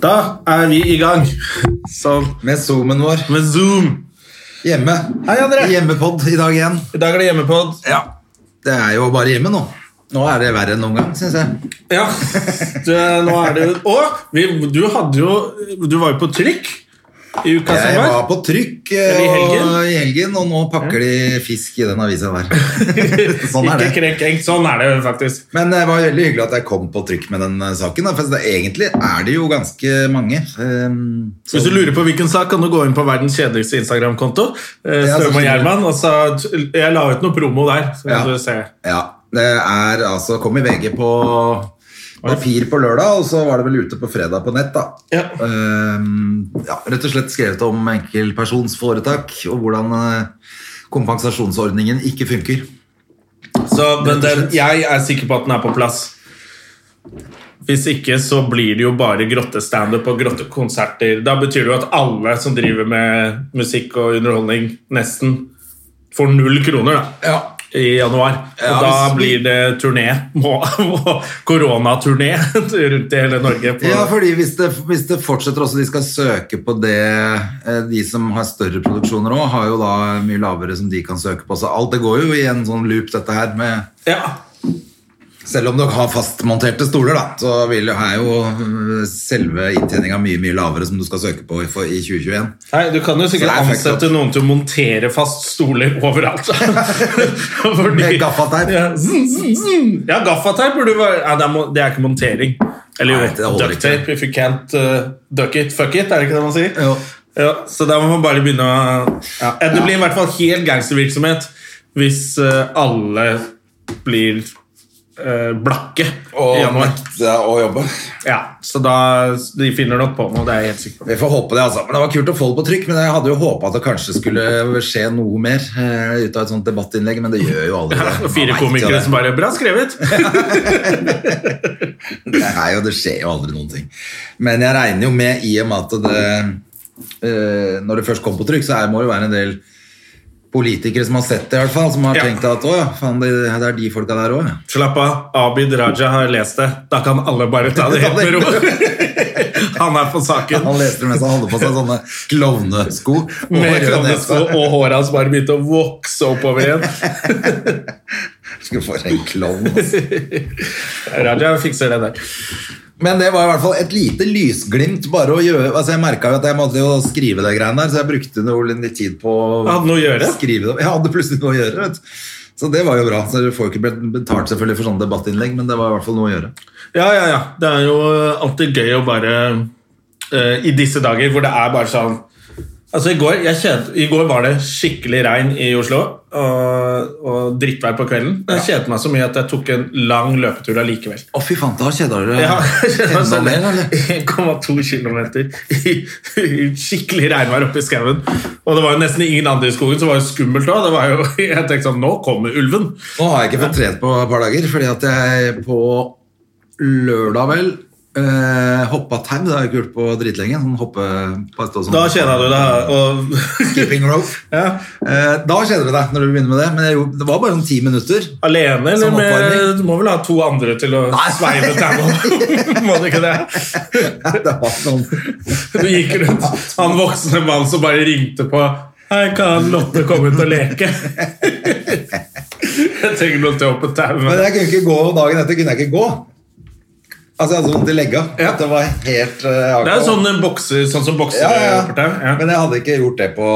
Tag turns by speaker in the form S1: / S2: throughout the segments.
S1: Da er vi i gang. Sånn.
S2: Med zoomen vår
S1: Med Zoom.
S2: hjemme.
S1: Hei, André.
S2: Hjemmepod i dag igjen.
S1: I dag er det hjemmepod.
S2: Ja. Det er jo bare hjemme nå. Nå er det verre enn noen gang, syns jeg.
S1: Ja. Du, nå er det jo Og vi, du hadde jo Du var jo på trykk i uka
S2: Jeg
S1: som
S2: var
S1: var.
S2: på trykk
S1: Er det i
S2: eh,
S1: helgen?
S2: og, i helgen, og nå pakker de fisk i den avisa der. sånn er
S1: Ikke
S2: det.
S1: krenk enk. Sånn er det faktisk.
S2: Men det var veldig hyggelig at jeg kom på trykk med den eh, saken. Da, for det, egentlig er det jo ganske mange. eh,
S1: Hvis du lurer på hvilken sak, kan du gå inn på verdens kjedeligste Instagram-konto. eh,
S2: Ja, så
S1: Støme og
S2: skjønner jeg.
S1: Gjerman. Og så, jeg la ut noe promo der. Så
S2: Ja.
S1: kan du se.
S2: Ja, det er altså Kom i VG på papir på lørdag, og så var det vel ute på fredag på nett, da.
S1: Ja.
S2: Ehm, ja, rett og slett skrevet om enkeltpersonsforetak og hvordan eh, kompensasjonsordningen ikke funker.
S1: Så,
S2: Rett
S1: men
S2: og
S1: den,
S2: slett.
S1: jeg er sikker på at den er på plass. Hvis ikke så blir det jo bare grottestandup og grottekonserter. Da betyr det jo at alle som driver med musikk og underholdning, nesten får null kroner da,
S2: Ja.
S1: i januar.
S2: Ja,
S1: og da
S2: hvis-
S1: blir det turné. må- må- Koronaturné rundt i hele Norge. på-
S2: Ja, fordi hvis det, hvis det fortsetter også, de skal søke på det eh, De som har større produksjoner òg, har jo da mye lavere som de kan søke på. Så alt det går jo i en sånn loop, dette her med
S1: ja.
S2: Selv om dere har fastmonterte stoler, da, så vil, er jo øh, selve inntjeninga mye mye lavere som du skal søke på i, for, i 2021.
S1: Nei, Du kan jo sikkert
S2: Så det er fucked
S1: ansette
S2: up.
S1: noen til å montere fast stoler overalt. Fordi,
S2: Med gaffateip.
S1: Ja, zzzz, zzzz. ja gaffateip burde være Nei, det er, mo- det er ikke montering. Eller
S2: Nei, det
S1: jo,
S2: holder ikke.
S1: ducktape if you can't uh, duck it, fuck it, er det ikke det man sier?
S2: Jo.
S1: Ja, så da må man bare begynne å ja. Det blir i hvert fall helt gangstervirksomhet hvis uh, alle blir uh, blakke i januar.
S2: nekte å jobbe.
S1: Ja, så da de finner nok på noe, det er jeg helt sikker på.
S2: Vi får håpe det, altså. Men det var kult å få det på trykk. Men jeg hadde jo håpa at det kanskje skulle skje noe mer eh, ut av et sånt debattinnlegg, men det gjør jo aldri det. Man
S1: Fire
S2: vet jo
S1: komikere
S2: det.
S1: som bare 'Bra skrevet'!
S2: Det er jo, det skjer jo aldri noen ting. Men jeg regner jo med, i og med at det eh, Når det først kom på trykk, så er, må det jo være en del politikere som har sett det, i hvert fall. Som har
S1: Ja.
S2: tenkt at å ja, faen, det, det er de folka der òg, ja.
S1: Slapp av, Abid Raja har lest det. Da kan alle bare ta det helt med ro. Han er på saken.
S2: Han leste det mens han hadde på seg sånne klovnesko. og
S1: Med
S2: rød
S1: klovnesko,
S2: nese.
S1: og håret hans bare begynte å vokse oppover igjen.
S2: Skulle få en klovn. altså.
S1: Raja fikser det der.
S2: Men det var i hvert fall et lite lysglimt. bare å gjøre, altså Jeg merka jo at jeg måtte jo skrive det greiene der, så jeg brukte jo litt tid på å
S1: Hadde noe å gjøre?
S2: skrive det. Jeg hadde plutselig noe å gjøre. vet du. Så det var jo bra. så Du får jo ikke betalt selvfølgelig for sånne debattinnlegg, men det var i hvert fall noe å gjøre.
S1: Ja, ja, ja. Det er jo alltid gøy å bare eh, I disse dager hvor det er bare sånn Altså, i går, jeg kjente, I går var det skikkelig regn i Oslo og, og drittvær på kvelden. Jeg kjedet meg så mye at jeg tok en lang løpetur allikevel.
S2: Å, fy faen, da kjeder du deg
S1: Ja,
S2: enda
S1: sånn
S2: mer, eller?
S1: 1,2 kilometer i, i skikkelig regnvær oppe i skauen. Og det var jo nesten ingen andre i skogen, så det var jo skummelt òg. Jeg tenkte sånn Nå kommer ulven!
S2: Nå har jeg ikke fått trent på et par dager, fordi at jeg på lørdag vel eh, hoppa tau. Det har jeg ikke gjort på dritlenge. Sånn hoppe på et sånn.
S1: Da kjeda du deg. Og
S2: Skipping rope.
S1: ja.
S2: Eh, da kjeder du deg når du begynner med det, men jeg, gjorde- det var bare sånn ti minutter.
S1: Alene, eller
S2: Som
S1: med
S2: oppvarming.
S1: Du må vel ha to andre til å
S2: Nei.
S1: sveive tauet? Må du ikke det?
S2: Det var sånn
S1: Du gikk rundt han voksne mannen som bare ringte på Hei, kan Lotte komme ut og leke? Jeg trenger noen til å hoppe tau.
S2: Men
S1: med.
S2: jeg kunne ikke gå dagen etter. kunne jeg ikke gå Altså, jeg hadde så vondt i legga.
S1: Ja.
S2: at Det var helt eh,
S1: Det er jo sånn, en bokser, sånn som boksere
S2: ja, ja,
S1: hopper tau.
S2: ja.
S1: Ja.
S2: Men jeg hadde ikke gjort det på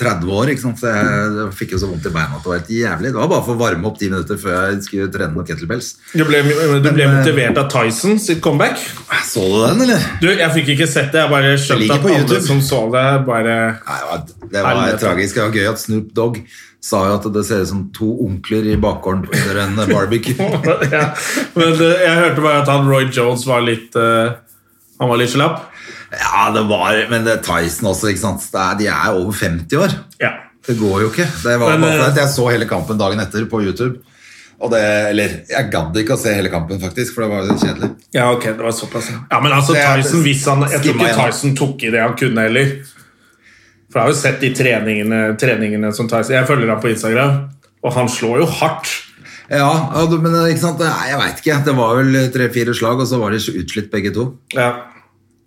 S2: 30 år, ikke sant? så jeg, jeg fikk jo så vondt i beina at det var helt jævlig. Det var bare for å varme opp ti minutter før jeg skulle trene noen kettlebells.
S1: Du ble, du ble
S2: Men, eh,
S1: motivert av Tyson sitt comeback.
S2: Så du den, eller?
S1: Du, Jeg fikk ikke sett det. Jeg bare skjønte
S2: ligger
S1: at
S2: på
S1: alle
S2: YouTube.
S1: som så det, bare
S2: Nei, det var- det var
S1: Helvete.
S2: tragisk. Det var gøy at Snoop Dogg sa jo at det ser ut som to onkler i bakgården under en barbecue.
S1: ja. Men eh, jeg hørte bare at han Roy Jones var litt eh, Han var litt slapp?
S2: Ja, det var Men det er Tyson også, ikke sant. Det er, de er over 50 år.
S1: Ja.
S2: Det går jo ikke. Det var
S1: Men,
S2: bare
S1: eh,
S2: at Jeg så hele kampen dagen etter på YouTube. Og det, eller, jeg gadd ikke å se hele kampen, faktisk, for det var litt kjedelig.
S1: Ja, ok, det var såpass. ja. Ja, men altså
S2: Det er-
S1: Tyson, hvis han, Jeg tror
S2: Skippa
S1: ikke
S2: igjen.
S1: Tyson tok i det han kunne heller. For jeg har jo sett de treningene, treningene som Tyson Jeg følger ham på Instagram, og han slår jo hardt.
S2: Ja, ja, du- men eh, ikke sant? Nei, jeg veit ikke. Det var vel tre-fire slag, og så var de så utslitt begge to.
S1: Ja.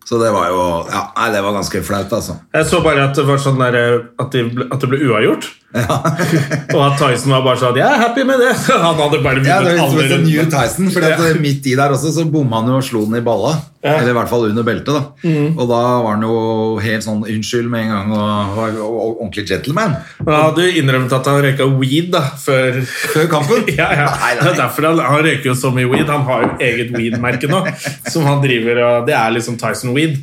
S2: Så det var jo ja, Nei, det var ganske flaut, altså.
S1: Jeg så bare at det var sånn der, eh, at, de, ble- at det ble uavgjort. og at Tyson var bare sånn Jeg er happy med det! Han hadde bare
S2: Ja, det
S1: vunnet
S2: var
S1: alle
S2: litt som New
S1: rundene.
S2: Tyson, for
S1: Ja.
S2: midt i der også så bomma han jo og slo den i balla.
S1: Ja. Mm.
S2: Eller i hvert fall under beltet, da. Og da var han jo helt sånn unnskyld med en gang, og var jo ordentlig gentleman.
S1: Men han hadde jo innrømt at han røyka weed da, før
S2: Før kampen?
S1: Ja, ja.
S2: Nei,
S1: Det
S2: nei.
S1: er derfor han, han røyker jo så mye weed. Han har jo eget weed-merke nå, som han driver og Det er liksom Tyson Weed.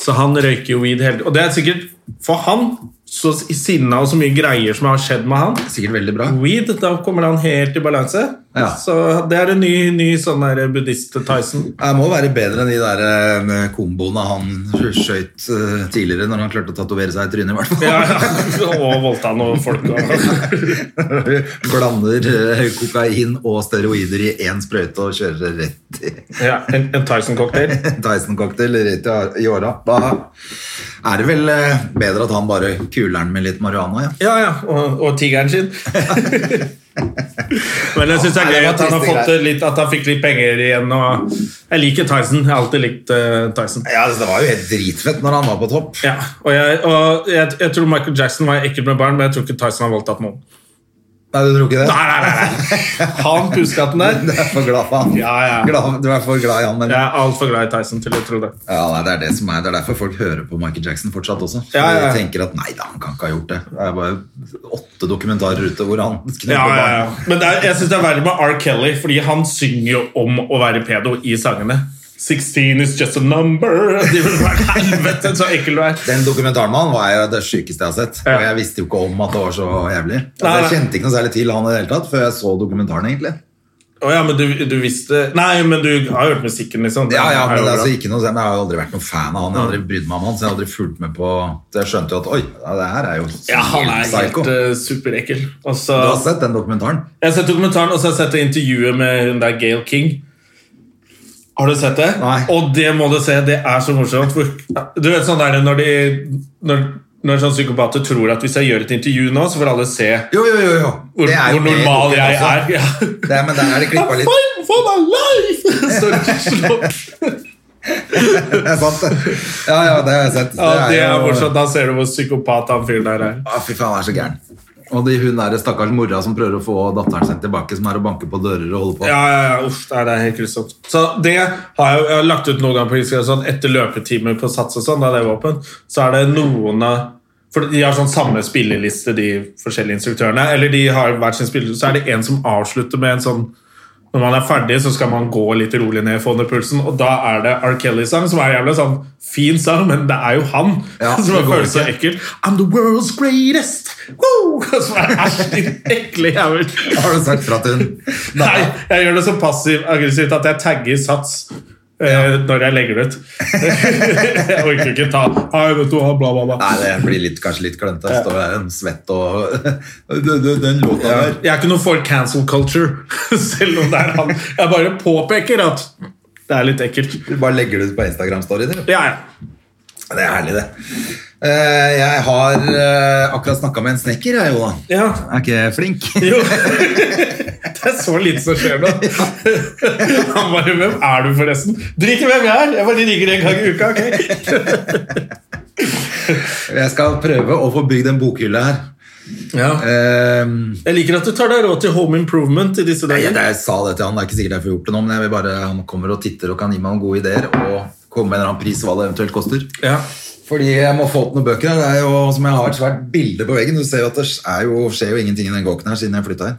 S1: Så han røyker jo weed hele Og det er sikkert for han, så sinna og så mye greier som har skjedd med han
S2: Sikkert veldig bra.
S1: Weed, da kommer han helt i balanse.
S2: Ja.
S1: Så det er en ny, ny sånn der buddhist-Tyson.
S2: Det må være bedre enn de der eh, komboene han skjøt eh, tidligere, når han klarte å tatovere seg i trynet, i hvert fall.
S1: Ja, ja. Og voldta noen folk. Og.
S2: Blander eh, kokain og steroider i én sprøyte og kjører rett i
S1: Ja, en, en Tyson-cocktail.
S2: Tyson-cocktail rett i- i åra. Da er det vel eh, bedre at han bare kuler den med litt marihuana, ja.
S1: Ja, ja, og, og tigeren sin. Men jeg syns det er
S2: Nei, det
S1: gøy
S2: var
S1: at han, har
S2: triste
S1: fått
S2: greier.
S1: litt, at han fikk litt penger igjen. Og jeg liker Tyson. Jeg har alltid likt eh, Tyson.
S2: ja altså, det var jo helt dritfett når han var på topp.
S1: Ja, og jeg, og jeg, jeg tror Michael Jackson var ekkel med barn, men jeg tror ikke Tyson har voldtatt noen.
S2: Nei, du tror ikke det?
S1: Nei, nei, nei, nei. Han puskatten
S2: Du
S1: der.
S2: er for glad for han.
S1: Ja, ja.
S2: Glad, du er for glad i han, eller?
S1: Jeg er altfor glad i Tyson til å tro det.
S2: Ja, nei, det, er det, som er, det er derfor folk hører på Michael Jackson fortsatt også. For
S1: Ja, ja, ja.
S2: De tenker at nei da, han kan ikke ha gjort det. Det er bare åtte dokumentarer ute hvor han knepper
S1: Ja, ja, ja.
S2: barn.
S1: Men det er, jeg syns det er verre med R. Kelly, fordi han synger jo om å være pedo i sangene. 16 is just a number. Det vil være helvete, så ekkel du er.
S2: Den dokumentaren med han var jo det sykeste jeg har sett.
S1: Ja.
S2: Og jeg visste jo ikke om at det var så jævlig. Altså,
S1: Nei, nei.
S2: jeg kjente ikke noe særlig til han i det hele tatt før jeg så dokumentaren, egentlig.
S1: Å ja, men du, du visste Nei, men du har hørt musikken, liksom.
S2: Ja, ja, men det er
S1: det er jo
S2: altså
S1: bra. Mm.
S2: ikke noe, men Jeg har jo aldri vært noen fan av han. Jeg har aldri brydd meg om han, så jeg har aldri fulgt med på Så jeg skjønte jo at oi, ja, det her er jo
S1: ja, han er helt
S2: psycho.
S1: eh, superekkel. Og så
S2: Du har sett den dokumentaren?
S1: Jeg har sett dokumentaren, og så har jeg sett det intervjuet med hun der Gail King. Har du sett det?
S2: Nei.
S1: Og det må du se, det er så morsomt. For, du vet sånn der når de når, når sånne psykopater tror at hvis jeg gjør et intervju nå, så får alle se
S2: Jo, jo, jo. jo.
S1: hvor,
S2: Det er jo
S1: hvor
S2: med i
S1: normal jeg
S2: dokumentaren.
S1: er. Ja.
S2: Det, er- men der er det klippa litt.
S1: Fight for my life! Så slår
S2: Det er sant, det. Ja, ja, det har jeg sett.
S1: Ja, det er
S2: jo-
S1: morsomt. Da ser du hvor psykopat han fyren der er.
S2: Å, fy faen, han er så gæren. Og de, hun der stakkars mora som prøver å få datteren sin tilbake, som er og banker på dører og holder på.
S1: Ja, ja, ja. Uff, nei, det er helt grusomt. Så det har jeg, jeg har lagt ut noen gang på Instagram sånn, etter løpetimer på Sats og sånn, da det var åpent, så er det noen av For de har sånn samme spilleliste, de forskjellige instruktørene. Eller de har hver sin spilleliste, så er det en som avslutter med en sånn Når man er ferdig, så skal man gå litt rolig ned, få ned pulsen, og da er det R. Kelly-sang, som er jævlig sånn fin sang, men det er jo han
S2: Ja,
S1: som
S2: det går
S1: føles så
S2: ikke.
S1: ekkel. I'm the world's greatest! Woo! Som er æsj, din ekle jævel.
S2: Har du sagt fra til hun?
S1: Nei, jeg gjør det så passiv-aggressivt at jeg tagger sats eh, når jeg legger det ut. jeg orker ikke ta Hei, vet du hva, bla, bla, bla.
S2: Nei, det blir litt, kanskje litt klønete. Jeg Står der en svett og Den, den- den låta der.
S1: Jeg er ikke noe for cancel culture, selv om det er han. Jeg bare påpeker at det er litt ekkelt.
S2: Du bare legger det ut på Instagram-storyen, eller?
S1: Ja, ja.
S2: Det er herlig, det. Eh, Jeg har eh, akkurat snakka med en snekker, jeg, Joda.
S1: ja.
S2: Er ikke jeg flink?
S1: Jo. Det er så lite som skjer nå. Han bare 'Hvem er du, forresten?' Drit i hvem jeg er, jeg bare ringer en gang i uka. ok?
S2: Jeg skal prøve å få bygd en bokhylle her.
S1: Ja.
S2: Eh,
S1: Jeg liker at du tar deg råd til home improvement i disse
S2: Nei, jeg,
S1: dager.
S2: jeg sa det til han, det er ikke sikkert jeg får gjort det nå, men jeg vil bare, han kommer og titter og kan gi meg noen gode ideer, og komme med en eller annen pris hva det eventuelt koster.
S1: Ja.
S2: Fordi jeg må få opp noen bøker her, det er jo, som jeg har et svært bilde på veggen, du ser jo at det er jo, skjer jo ingenting i den gåken her siden jeg flyttet her.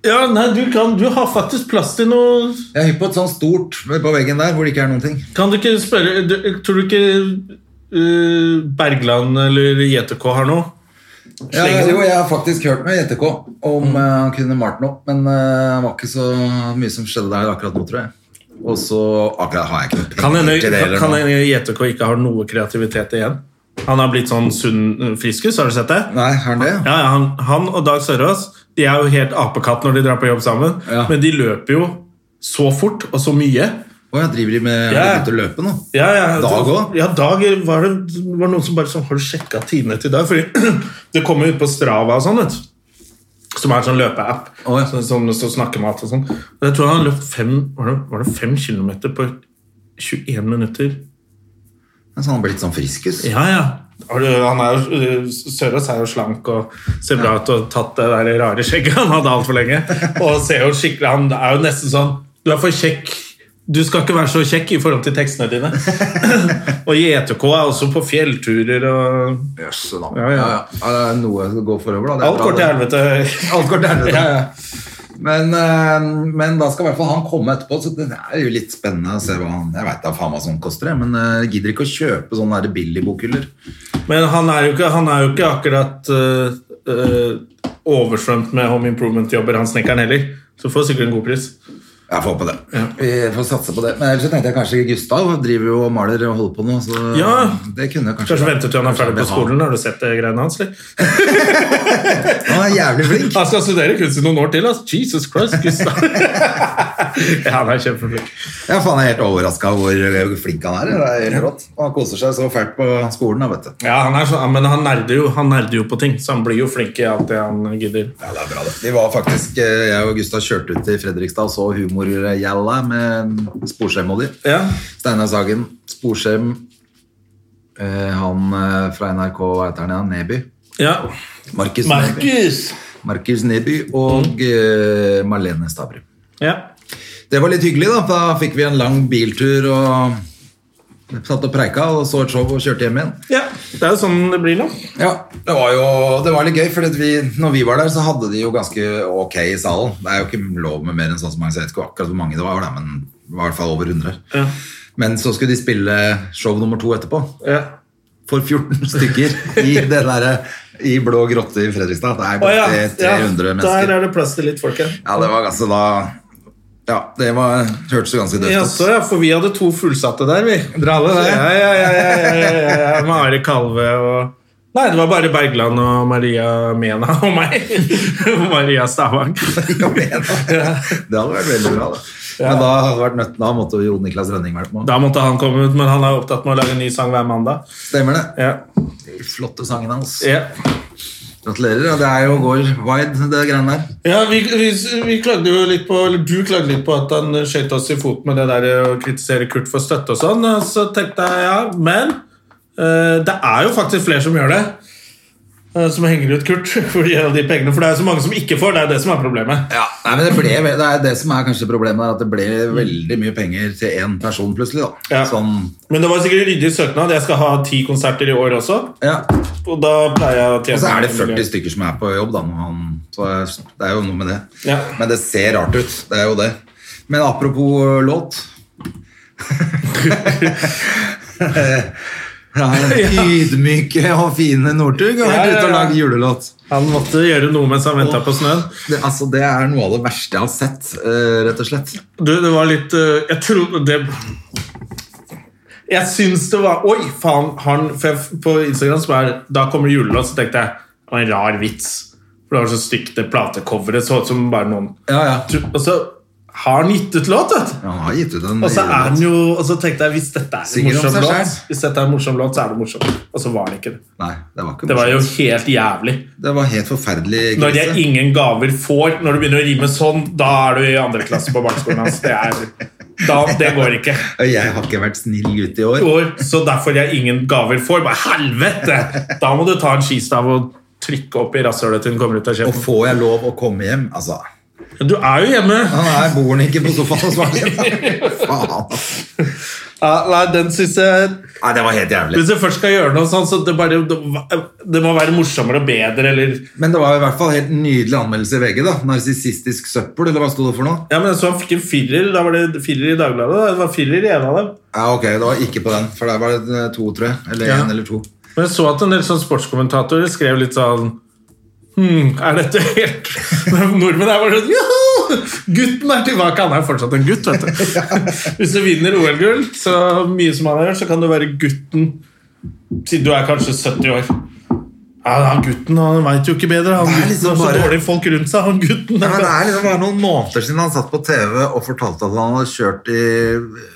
S1: Ja, nei, du, kan, du har faktisk plass til noe
S2: Jeg er hypp på et sånt stort på veggen der, hvor det ikke er noen ting.
S1: Kan du ikke spørre du, Tror du ikke eh, Bergland eller JTK har noe?
S2: Ja, jo, jeg har faktisk hørt med JTK
S1: Mm.
S2: om eh, han kunne malt noe, men eh, det var ikke så mye som skjedde der akkurat nå, tror jeg. Og så akkurat har jeg ikke noe
S1: Kan hende
S2: penger til det heller
S1: kan
S2: nå.
S1: hende JTK ikke har noe kreativitet igjen. Han har blitt sånn sunn friskus, har du sett det?
S2: Nei, har han det?
S1: Ja, ja, han, han og Dag Sørås De er jo helt apekatt når de drar på jobb sammen.
S2: Ja.
S1: Men de løper jo så fort og så mye.
S2: Å ja, driver de med
S1: Ja.
S2: begynt å løpe nå?
S1: Ja, ja,
S2: Dag også?
S1: Ja, Dag var det var noen som bare sånn Har du sjekka tidene til Dag? Fordi det kommer jo ut på Strava og sånn, vet du. Som er en sånn løpeapp.
S2: Å, ja.
S1: Som, som det står snakkemat og sånn. Og Jeg tror han har løpt fem Var det, var det fem kilometer på 21 minutter?
S2: Men så har han blitt sånn friskus.
S1: Ja, ja. Har du- Han er jo, eh, Sørås er jo slank og ser bra ut og tatt det der rare skjegget han hadde altfor lenge. Og ser jo skikkelig, Han er jo nesten sånn Du er for kjekk. Du skal ikke være så kjekk i forhold til tekstene dine. og JTK er også på fjellturer og
S2: Jøsse da.
S1: Ja, ja.
S2: Ja, det er noe å gå forover, da. Det er
S1: Alt
S2: bra,
S1: går til
S2: det.
S1: helvete.
S2: Alt går til helvete.
S1: Ja, ja.
S2: Men, eh, men da skal i hvert fall han komme etterpå, så det er jo litt spennende å se hva han Jeg veit da faen hva sånt koster, jeg, men eh, jeg gidder ikke å kjøpe sånne der billige bokhyller.
S1: Men han er jo ikke, han er jo ikke akkurat eh, eh, overstrømt med Home Improvement-jobber, han snekkeren heller. Så får sikkert en god pris.
S2: Jeg får på det. Vi får satse på det. Men ellers så tenkte jeg kanskje Gustav driver jo og maler og holder på nå, så
S1: Ja.
S2: det kunne kanskje
S1: Kanskje vente til han er ferdig på
S2: Kanskje han vil
S1: skolen. Har du sett det greiene hans? eller?
S2: ha- Han er jævlig flink.
S1: Han skal studere kunst i noen år til, ass. Jesus Christ, Gustav. ja, han er kjempeflink.
S2: Jeg er faen helt overraska hvor eh, flink han er. Det er helt rått. Og han koser seg så fælt på skolen, da, vet du.
S1: Ja, han er så, men han nerder, jo, han nerder jo på ting, så han blir jo flink i alt det han gidder.
S2: Ja, det er bra det. Vi var faktisk, eh, Jeg og Gustav kjørte ut til Fredrikstad og så Humorgjalla med Sporskjem og de.
S1: Ja,
S2: Steinar Sagen, Sporskjem, eh, han eh, fra NRK, hva heter han igjen? Neby?
S1: ja.
S2: Markus Neby.
S1: Markus!
S2: Markus Neby og eh, Marlene Stavrum.
S1: Ja.
S2: Det var litt hyggelig, da. for Da fikk vi en lang biltur og satt og preika og så et show og kjørte hjem igjen.
S1: ja, det er jo sånn det blir nå.
S2: Ja, det var jo det var litt gøy, for vi, når vi var der, så hadde de jo ganske ok i salen. Det er jo ikke lov med mer enn sånn som mange, så jeg vet ikke akkurat hvor mange det var, da, men det var i hvert fall over 100.
S1: Ja.
S2: Men så skulle de spille show nummer to etterpå,
S1: Ja.
S2: for 14 stykker i det derre i Blå grotte i Fredrikstad. Det er
S1: Å, ja.
S2: ganske
S1: ja.
S2: 300
S1: Der
S2: mennesker.
S1: er det plass til litt folk her.
S2: Ja, det var ganske da Ja, det var, hørtes jo ganske
S1: Ja,
S2: døvt
S1: så,
S2: ut.
S1: ja, for vi hadde to fullsatte der, vi.
S2: Dralle, det.
S1: Ja, ja, ja, ja, ja, ja, ja, ja. Med Are Kalve og Nei, det var bare Bergland og Maria Mena og meg. Maria Stavang.
S2: Kom igjen, da. Det hadde vært veldig bra, da. Men da hadde det vært nødt da måtte jo Jon Niklas Rønning vært med.
S1: Da måtte han komme ut, men han er opptatt med å lage en ny sang hver mandag.
S2: Stemmer det?
S1: Ja,
S2: De flotte sangene hans.
S1: ja.
S2: Gratulerer. ja. Det er jo går wide, det greiene der.
S1: ja vi, vi, vi klagde jo litt på Eller du klagde litt på at han skjøt oss i foten med det der eh, å kritisere Kurt for støtte og sånn. og Så tenkte jeg ja, men eh, det er jo faktisk flere som gjør det. eh, Som henger ut Kurt for de, de pengene. For det er så mange som ikke får. Det er det som er problemet.
S2: Ja, nei, men det, ble, det er det som er kanskje problemet, er at det ble veldig mye penger til én person plutselig. da.
S1: Ja.
S2: Sånn,
S1: Men det var sikkert ryddig søknad. Jeg skal ha ti konserter i år også.
S2: ja.
S1: Og da pleier jeg å tjene
S2: Og så er det
S1: en million.
S2: 40 stykker som er på jobb, da. når han- Så det er jo noe med det.
S1: Ja.
S2: Men det ser rart ut. Det er jo det. Men apropos ø, låt Ja, Ydmyke og fine Northug har
S1: Ja,
S2: vært
S1: ja,
S2: ute og
S1: ja.
S2: lagd julelåt.
S1: Han måtte gjøre noe mens han venta på snøen.
S2: Det, altså, det er noe av det verste jeg har sett, ø, rett og slett.
S1: Du, det var litt eh, Jeg trodde det Jeg syns det var Oi, faen! Han, for jeg, på Instagram så er, da kommer det julelåt, så tenkte jeg det var en rar vits. For det var så stygt, det platecoveret så ut som bare noen
S2: Ja, ja.
S1: Og så har han gitt ut låt, vet du!
S2: Han har gitt ut en
S1: Og så er
S2: julelåt.
S1: han jo Og så tenkte jeg hvis dette er en
S2: Synger om
S1: morsom
S2: seg
S1: låt,
S2: selv.
S1: hvis dette er en morsom låt, så er det morsomt. Og så var det ikke det.
S2: Nei, det var ikke
S1: Det var jo
S2: morsomt.
S1: helt jævlig.
S2: Det var helt forferdelig
S1: Når
S2: krise.
S1: jeg ingen gaver får, når du begynner å rime sånn, da er du i andre klasse på barneskolen hans. Det, er, da, det går ikke.
S2: Og jeg har ikke vært snill gutt i år.
S1: år, så derfor jeg ingen gaver får. Bare helvete! Da må du ta en skistav og trykke opp i rasshølet til den kommer ut av
S2: Og
S1: kjeften.
S2: får jeg lov å komme hjem? Altså,
S1: Du er jo hjemme!
S2: han er bor han ikke på sofaen og svarer igjen. Faen.
S1: Ja, nei, den synes jeg
S2: Nei, det var helt jævlig.
S1: Hvis du først skal gjøre noe sånn, så det, bare, det må være morsommere og bedre, eller
S2: Men det var i hvert fall helt nydelig anmeldelse i VG. da. Narsissistisk søppel, eller hva sto det for noe?
S1: Ja, men jeg så han fikk en firer. Da var det firer i Dagbladet. da. Det var firer i en av dem.
S2: Ja, ok, det var ikke på den, for der var det eh, to, tror jeg. Eller
S1: Ja.
S2: en eller to.
S1: Men jeg så at en del sånn sportskommentatorer skrev litt sånn Hmm, er dette helt Nordmenn er bare sånn Joho! Gutten er tilbake, han er fortsatt en gutt. vet du Hvis du vinner OL-gull, så mye som han har gjort, så kan du være gutten siden du er kanskje 70 år. Ja, han gutten han veit jo ikke bedre. Han
S2: Det er
S1: gutten
S2: liksom
S1: har så
S2: bare-
S1: dårlige folk rundt seg. Han gutten
S2: Men det er liksom bare noen måneder siden han satt på TV og fortalte at han hadde kjørt i eh,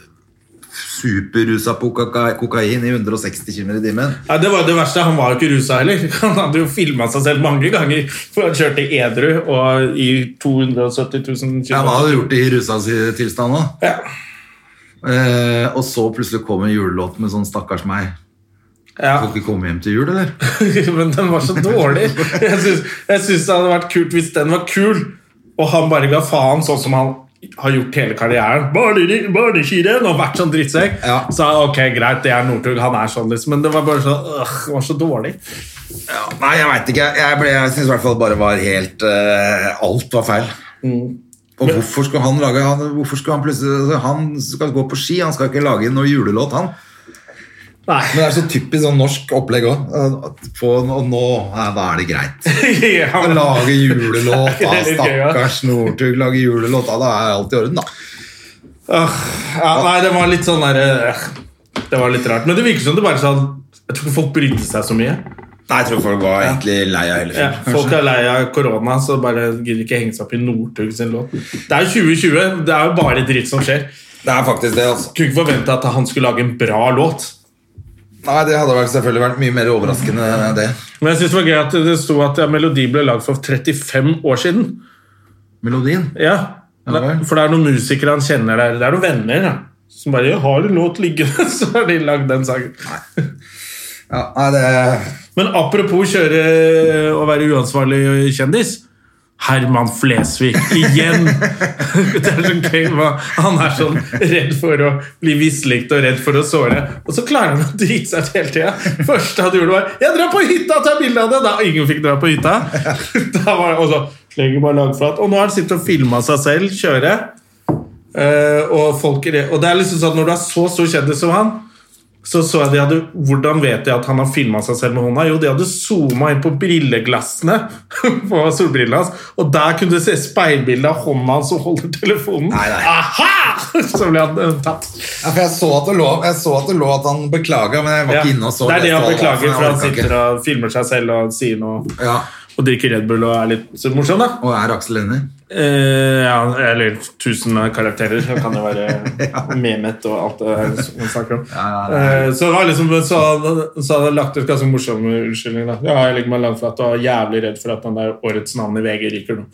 S2: superrusa på koka- kokain i 160 km i timen.
S1: Nei, det var jo det verste. Han var jo ikke rusa heller. Han hadde jo filma seg selv mange ganger. For han kjørte edru og i 270 000
S2: Ja, Han hadde
S1: km.
S2: gjort det i rusa si- tilstand òg.
S1: Ja.
S2: Eh, og så plutselig kom en julelåt med sånn 'stakkars meg'.
S1: Ja.
S2: Skal ikke komme hjem til jul, eller?
S1: Men den var så dårlig. Jeg syns jeg syns det hadde vært kult hvis den var kul, og han bare ga faen, sånn som han har gjort hele karrieren. Barne- Barneskirenn og vært sånn drittsekk.
S2: Ja.
S1: Så ok, greit, det er Northug. Han er sånn, liksom. Men det var bare sånn øh, det var så dårlig.
S2: Ja, nei, jeg veit ikke. Jeg, ble- jeg syns i hvert fall bare var helt eh, Alt var feil. Mm. Og hvorfor skulle han lage han, Hvorfor skulle han plutselig altså, Han skal gå på ski, han skal ikke lage noe julelåt, han.
S1: Nei.
S2: Men det er så typisk sånn norsk opplegg òg. Og nå ja, da er det greit.
S1: Ja,
S2: Å
S1: men-
S2: lage julelåt, da.
S1: Det er litt gøy, ja.
S2: Stakkars Northug lager julelåt. Da, da er alt i orden, da.
S1: Åh, ja, nei, det var litt sånn der øh, Det var litt rart. Men det virker som det bare sånn Jeg tror ikke folk brydde seg så mye.
S2: Nei, jeg tror folk var egentlig lei av hele
S1: Ja,
S2: filmen.
S1: folk er lei av korona, så bare gidder ikke henge seg opp i Northug sin låt. Det er jo 2020. Det er jo bare dritt som skjer.
S2: Det er faktisk det, altså.
S1: Kunne ikke forvente at han skulle lage en bra låt.
S2: Nei, det hadde vel selvfølgelig vært mye mer overraskende, det.
S1: Men jeg synes det var gøy at det sto at ja, melodi ble lagd for 35 år siden.
S2: Melodien.
S1: Ja,
S2: Ja vel.
S1: For det er noen musikere han kjenner der. Det er noen venner da, som bare «Jeg 'Har en låt liggende', så har de lagd den sangen.
S2: Ja, nei, det
S1: Men apropos kjøre og være uansvarlig kjendis. Herman Flesvig igjen! det er så gøy hva Han er sånn redd for å bli mislikt og redd for å såre. Og så klarer han å drite seg ut hele tida. Første han gjorde, var 'Jeg drar på hytta og tar bilde av det!' Da ingen fikk dra på hytta. da var det, og så legger bare lagflat. Og nå har han sittet og filma seg selv kjøre. Eh, og, folk, er- og det er liksom sånn Når du er så stor kjendis som han, så så jeg de hadde, Hvordan vet jeg at han har filma seg selv med hånda? Jo, de hadde zooma inn på brilleglassene på solbrillene hans, og der kunne du se speilbildet av hånda hans som holder telefonen.
S2: Nei, nei.
S1: Aha! Så ble han eh, tatt.
S2: Ja, for jeg så at det lå, jeg så at, det lå at han beklaga, men jeg var
S1: Ja.
S2: ikke inne og så.
S1: det er det han
S2: leste alt,
S1: beklager,
S2: jeg
S1: for han
S2: orket ikke.
S1: sitter og filmer seg selv og sier noe.
S2: Ja,
S1: Og drikker Red Bull og er litt så morsom, da.
S2: og er Aksel enig?
S1: Eh, ja, eller tusen karakterer. Det kan jo være Mehmet og alt det her som man snakker om.
S2: Ja,
S1: Eh, så det var liksom Så så hadde jeg lagt ut ganske morsomme unnskyldninger. da. Ja, jeg legger meg langflat og er jævlig redd for at den der årets navn i VG ryker nå.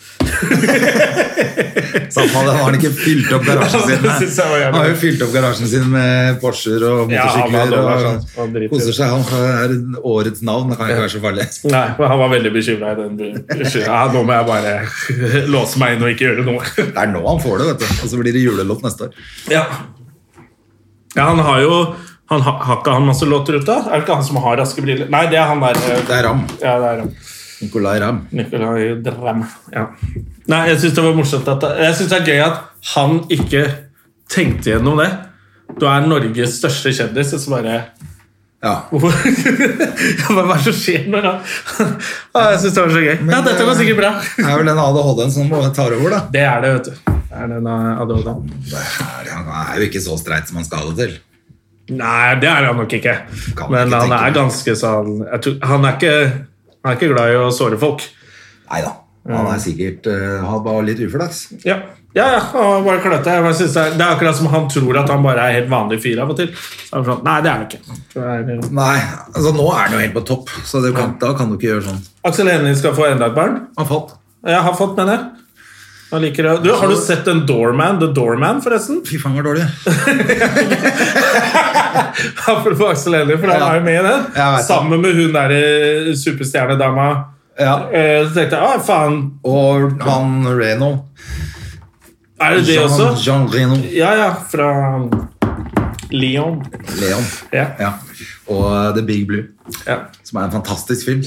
S2: Samme det, han har ikke fylt opp garasjen
S1: Ja, det
S2: sin med
S1: synes jeg var jævlig.
S2: Han har jo fylt opp garasjen sin med Porscher og
S1: Ja, han var
S2: motorsykler.
S1: dårlig,
S2: og-
S1: sånn. Han driter.
S2: koser seg. Han er årets navn, det kan ikke være så farlig.
S1: Nei, men han var veldig bekymra i den byen. Ja, nå må jeg bare låse meg inn og ikke gjøre noe.
S2: Det er nå han får det, vet du. Og så blir det julelåt neste år.
S1: Ja, ja han har jo han har, har ikke han masse låter ute? Er det ikke han som har raske briller? Nei, det er han der. eh,
S2: Det er Ram.
S1: Ja, det er han.
S2: Nicolay Ram.
S1: Nicolai Dram. Ja. Nei, jeg syns det var morsomt at Jeg synes det er gøy at han ikke tenkte gjennom det. Du er Norges største kjendis, og så bare
S2: Ja.
S1: Hvorfor? Hva hva er det som skjer når han ah, Jeg syns det var så gøy. ja, dette
S2: eh,
S1: går sikkert bra.
S2: Det er vel den ADHD-en som tar over, da.
S1: Det er det, vet du. Det er den eh, ADHD.
S2: Nei, Han er jo ikke så streit som han skal ha det til.
S1: Nei, det er han nok ikke.
S2: Kan
S1: Men
S2: ikke
S1: han
S2: tenke
S1: er
S2: på det.
S1: ganske sånn jeg tror, han, er ikke, han er ikke glad i å såre folk.
S2: Nei da. Han
S1: Mm.
S2: er sikkert eh, Han var litt uflaks.
S1: Ja, ja, ja han var bare kløtte. Jeg bare synes det, er, det er akkurat som han tror at han bare er helt vanlig fyr av og til. Så er han sånn, Nei, det er han ikke. Det er-
S2: Nei, altså nå er han jo helt på topp, så det kan, da kan du ikke gjøre sånn.
S1: Aksel Hennie skal få enda et barn.
S2: Han falt.
S1: Jeg har fått, mener jeg. Han liker det. Du, har du sett den Doorman? The Doorman, forresten?
S2: Fy faen, var dårlig.
S1: Apropos Aksel Hennie, for han
S2: Ja.
S1: er jo med i den.
S2: Jeg vet det.
S1: Sammen med hun derre superstjernedama.
S2: Ja.
S1: Eh, Så tenkte jeg ah, faen,
S2: Og han Reno.
S1: er det det
S2: Jean,
S1: også?
S2: Jean Reno.
S1: Ja, ja. Fra Leon.
S2: Leon.
S1: Ja,
S2: Ja. Og eh, The Big Blue,
S1: ja.
S2: som er en fantastisk film.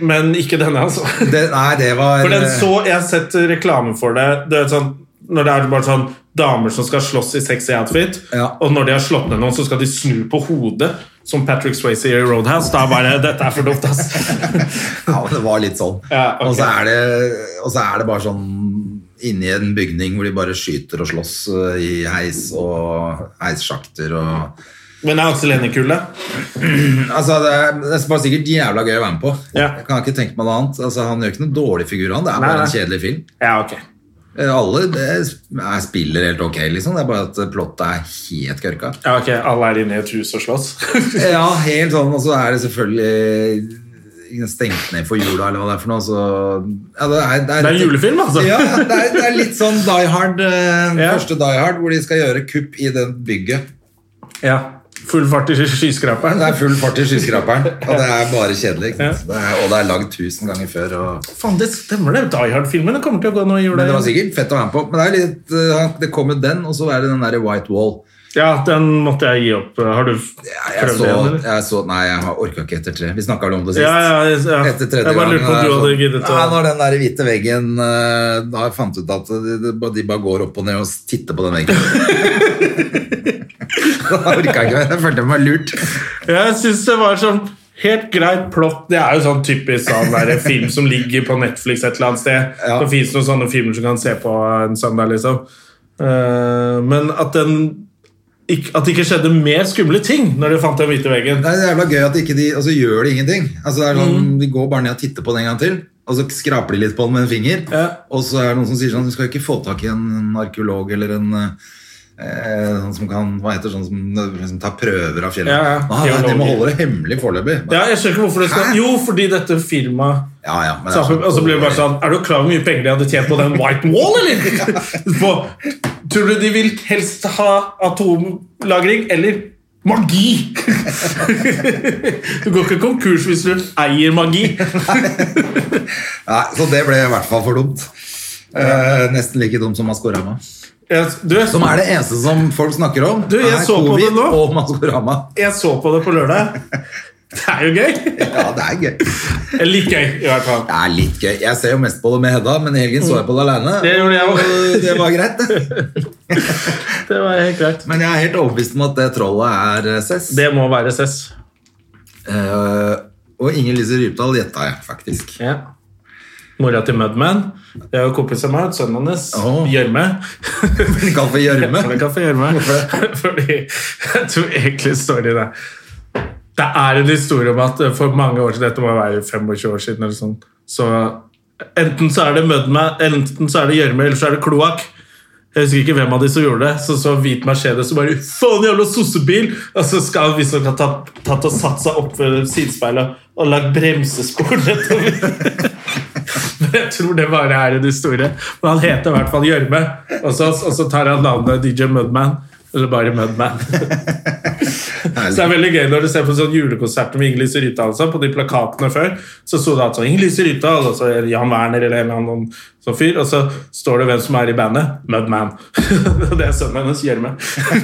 S1: Men ikke denne, altså.
S2: Det, nei, det var
S1: For den
S2: eh,
S1: så, Jeg har sett reklame for det. det er sånn, når det er bare sånn damer som skal slåss i sexy outfit,
S2: Ja.
S1: og når de har slått ned noen, så skal de snu på hodet, som Patrick Swayze i Roadhouse. Da bare Dette er for dumt, ass.
S2: Ja, det var litt sånn.
S1: Ja, ok.
S2: og, så er det, og så er det bare sånn inni en bygning hvor de bare skyter og slåss eh, i heis og heissjakter og
S1: Men er Aksel Hennie kul, da?
S2: Altså, det er, det er bare sikkert jævla gøy å være med på.
S1: Ja.
S2: Jeg kan ikke tenke meg noe annet. Altså, han gjør ikke noen dårlig figur, han. Det er bare
S1: Nei, nei.
S2: en kjedelig film.
S1: Ja, ok.
S2: Eh, Alle det er, spiller helt ok, liksom. Det er bare at plottet er helt kørka.
S1: Ja, ok, Alle er inne i et hus og slåss?
S2: Ja, helt sånn. Og så er det selvfølgelig stengt ned for jula, eller hva det er for noe. Så, ja, det, er,
S1: Det er en julefilm, altså.
S2: Ja, det er, det er litt sånn Die Hard, eh,
S1: Ja.
S2: første Die Hard, hvor de skal gjøre kupp i det bygget.
S1: ja. Full fart i skyskraperen?
S2: Det er full fart i skyskraperen, og det er bare kjedelig. Ikke sant? Det er, og det er lagd tusen ganger før. Og,
S1: Faen, det stemmer, det. Die Hard-filmen kommer til å gå nå i jula.
S2: men det var
S1: igjen.
S2: sikkert fett å være med på. Men det, er litt, eh, det kom jo den, og så er det den der White Wall.
S1: Ja, den måtte jeg gi opp. Har du prøvd
S2: Ja, Jeg så,
S1: det? eller?
S2: jeg så, nei, jeg har orka ikke etter tre. Vi snakka vel om det sist.
S1: Ja, ja, ja.
S2: Etter tredje
S1: Jeg bare
S2: gangen, da er
S1: lurte på om du
S2: det
S1: hadde
S2: sånn,
S1: giddet
S2: Nei,
S1: å
S2: når den der hvite veggen eh, Da har jeg fant ut at de, de, bare- de bare går opp og ned og titter på den veggen. da orka jeg ikke mer. Jeg følte meg lurt.
S1: Jeg syns det var sånn helt greit plott. Det er jo sånn typisk sånn der film som ligger på Netflix et eller annet sted.
S2: Ja.
S1: Det fins noen sånne filmer som kan se på en søndag, liksom. Eh, men at den ikk- at det ikke skjedde mer skumle ting når de fant den hvite veggen.
S2: Det er jævla gøy at ikke de Og så gjør de ingenting. Altså, det er sånn,
S1: Mm.
S2: De går bare ned og titter på den en gang til. Og så skraper de litt på den med en finger.
S1: Ja.
S2: Og så er det noen som sier sånn Du skal ikke få tak i en arkeolog eller en eh, sånn som kan, hva heter det, sånn som liksom, tar prøver av fjellet.
S1: Ja, ja.
S2: Nei, nei, de må
S1: Geologer.
S2: holde det hemmelig foreløpig.
S1: Ja, jeg skjønner ikke hvorfor det skal
S2: Hæ?
S1: Jo, fordi dette filmet
S2: Ja, ja, men det er
S1: Så-
S2: sånn-
S1: Og så blir det bare sånn Er du klar over hvor mye penger de hadde tjent på den white wall, eller? På, tror du de vil helst ha atomlagring eller magi? Du går ikke konkurs hvis du eier magi.
S2: Nei, så det ble i hvert fall for dumt. Eh, nesten like dumt som Maskorama.
S1: Jeg, du,
S2: Som er det eneste som folk snakker om.
S1: Du, jeg
S2: er
S1: så på det
S2: covid
S1: nå.
S2: Og Maskorama.
S1: jeg så på det på lørdag. Det er jo gøy.
S2: Ja, det er gøy. Det
S1: Eller litt gøy, i hvert fall.
S2: er litt gøy. Jeg ser jo mest på det med Hedda, men i helgen så jeg på det alene.
S1: Det gjorde jeg også.
S2: Og Det var greit, det.
S1: Det var helt greit.
S2: Men jeg er helt overbevist om at det trollet er eh, Cess.
S1: Det må være Cess.
S2: Eh, og Inger Lise Rypdal gjetta jeg, faktisk.
S1: Ja. Mora til Mudman. Det er jo kompisen min, sønnen hans.
S2: Åh.
S1: Gjørme.
S2: Hun kan få gjørme.
S1: Kan jeg få gjørme? Fordi jeg tror egentlig storyen er Det er en historie om at for mange år siden, dette må være 25 år siden, eller sånn, så enten så er det Mudman, enten så er det gjørme, eller så er det kloakk. Jeg husker ikke hvem av de som gjorde det. Så så hvit Mercedes og bare 'Faen, jævla sossebil!' Og så skal han visstnok ha tatt, tatt og satt seg opp ved sidespeilet og lagt bremsespor nedover. Men jeg tror det bare er en historie. Men han heter i hvert fall Gjørme. Og så, og så tar han navnet DJ Mudman. Eller bare Mudman. Så det er veldig gøy når du ser på sånn julekonserter med Inger-Lise Rytdal. og sånn, På de plakatene før så sto det at sånn Inger-Lise Rytdal og så er det Jan Werner eller en eller annen sånn fyr. Og så står det hvem som er i bandet. Mudman. Og det er sønnen hennes, Gjørme.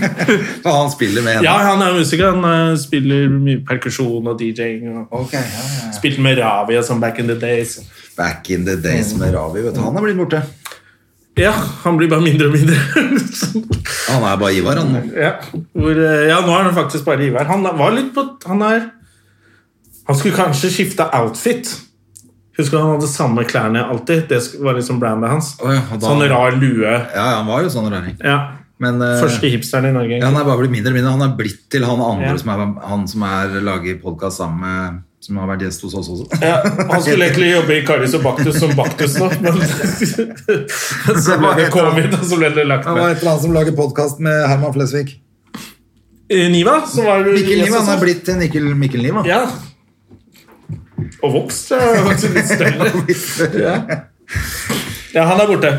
S2: Og han spiller med
S1: Ja,
S2: henne.
S1: han er musiker. Han eh, spiller mye perkusjon og DJ-ing. og
S2: Ok, ja, ja.
S1: Spilte med Ravi og sånn back in the days.
S2: Back in the days med Ravi. Vet du. Han er blitt borte.
S1: Ja, han blir bare mindre og mindre.
S2: Han er bare Ivar, han nå.
S1: Ja, hvor, eh, ja nå er han faktisk bare Ivar. Han var litt på Han er Han skulle kanskje skifte outfit. Husker du han hadde samme klærne alltid? Det sk- var liksom brandet hans.
S2: Å ja, og da-
S1: Sånn rar lue.
S2: Ja, han var jo sånn raring.
S1: Ja.
S2: Men, eh,
S1: Første hipsteren i Norge.
S2: Ja, han er bare blitt mindre og mindre. Han er blitt til han andre
S1: Ja.
S2: som er, han som er lager podkast sammen med Som har vært gjest hos oss også.
S1: Ja, han skulle egentlig jobbe i Karius og Baktus som Baktus nå, men så ble det covid, og så ble det lagt
S2: Han
S1: ned.
S2: var et eller annet som lager podkast med Herman Flesvig.
S1: Eh, Niva, så var det
S2: Mikkel Niva. Han er blitt til Nikkel Mikkel Niva.
S1: Ja. Og vokst. ja, Vokst litt større. Ja. ja, han er borte.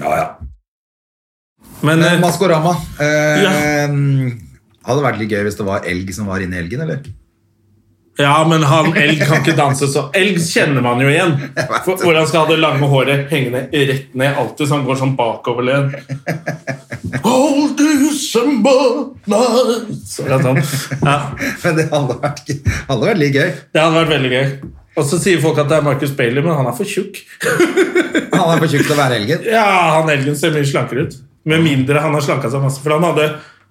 S2: Ja, ja.
S1: Men
S2: Men
S1: eh,
S2: Maskorama. Eh, Hadde vært litt gøy hvis det var elg som var inni elgen, eller?
S1: eh, Ja, men han elg kan ikke danse så Elg kjenner man jo igjen. For, hvor han skal ha det lange håret hengende rett ned alltid, så han går sånn bakoverlent. Cold December night Så er det sånn. ja,
S2: Men det hadde vært, hadde vært litt gøy.
S1: Det hadde vært veldig gøy. Og så sier folk at det er Marcus Bailey, men han er for tjukk.
S2: Han er for tjukk til å være elgen.
S1: Ja, han elgen ser mye slankere ut. Med mindre han har slanka seg masse. For han hadde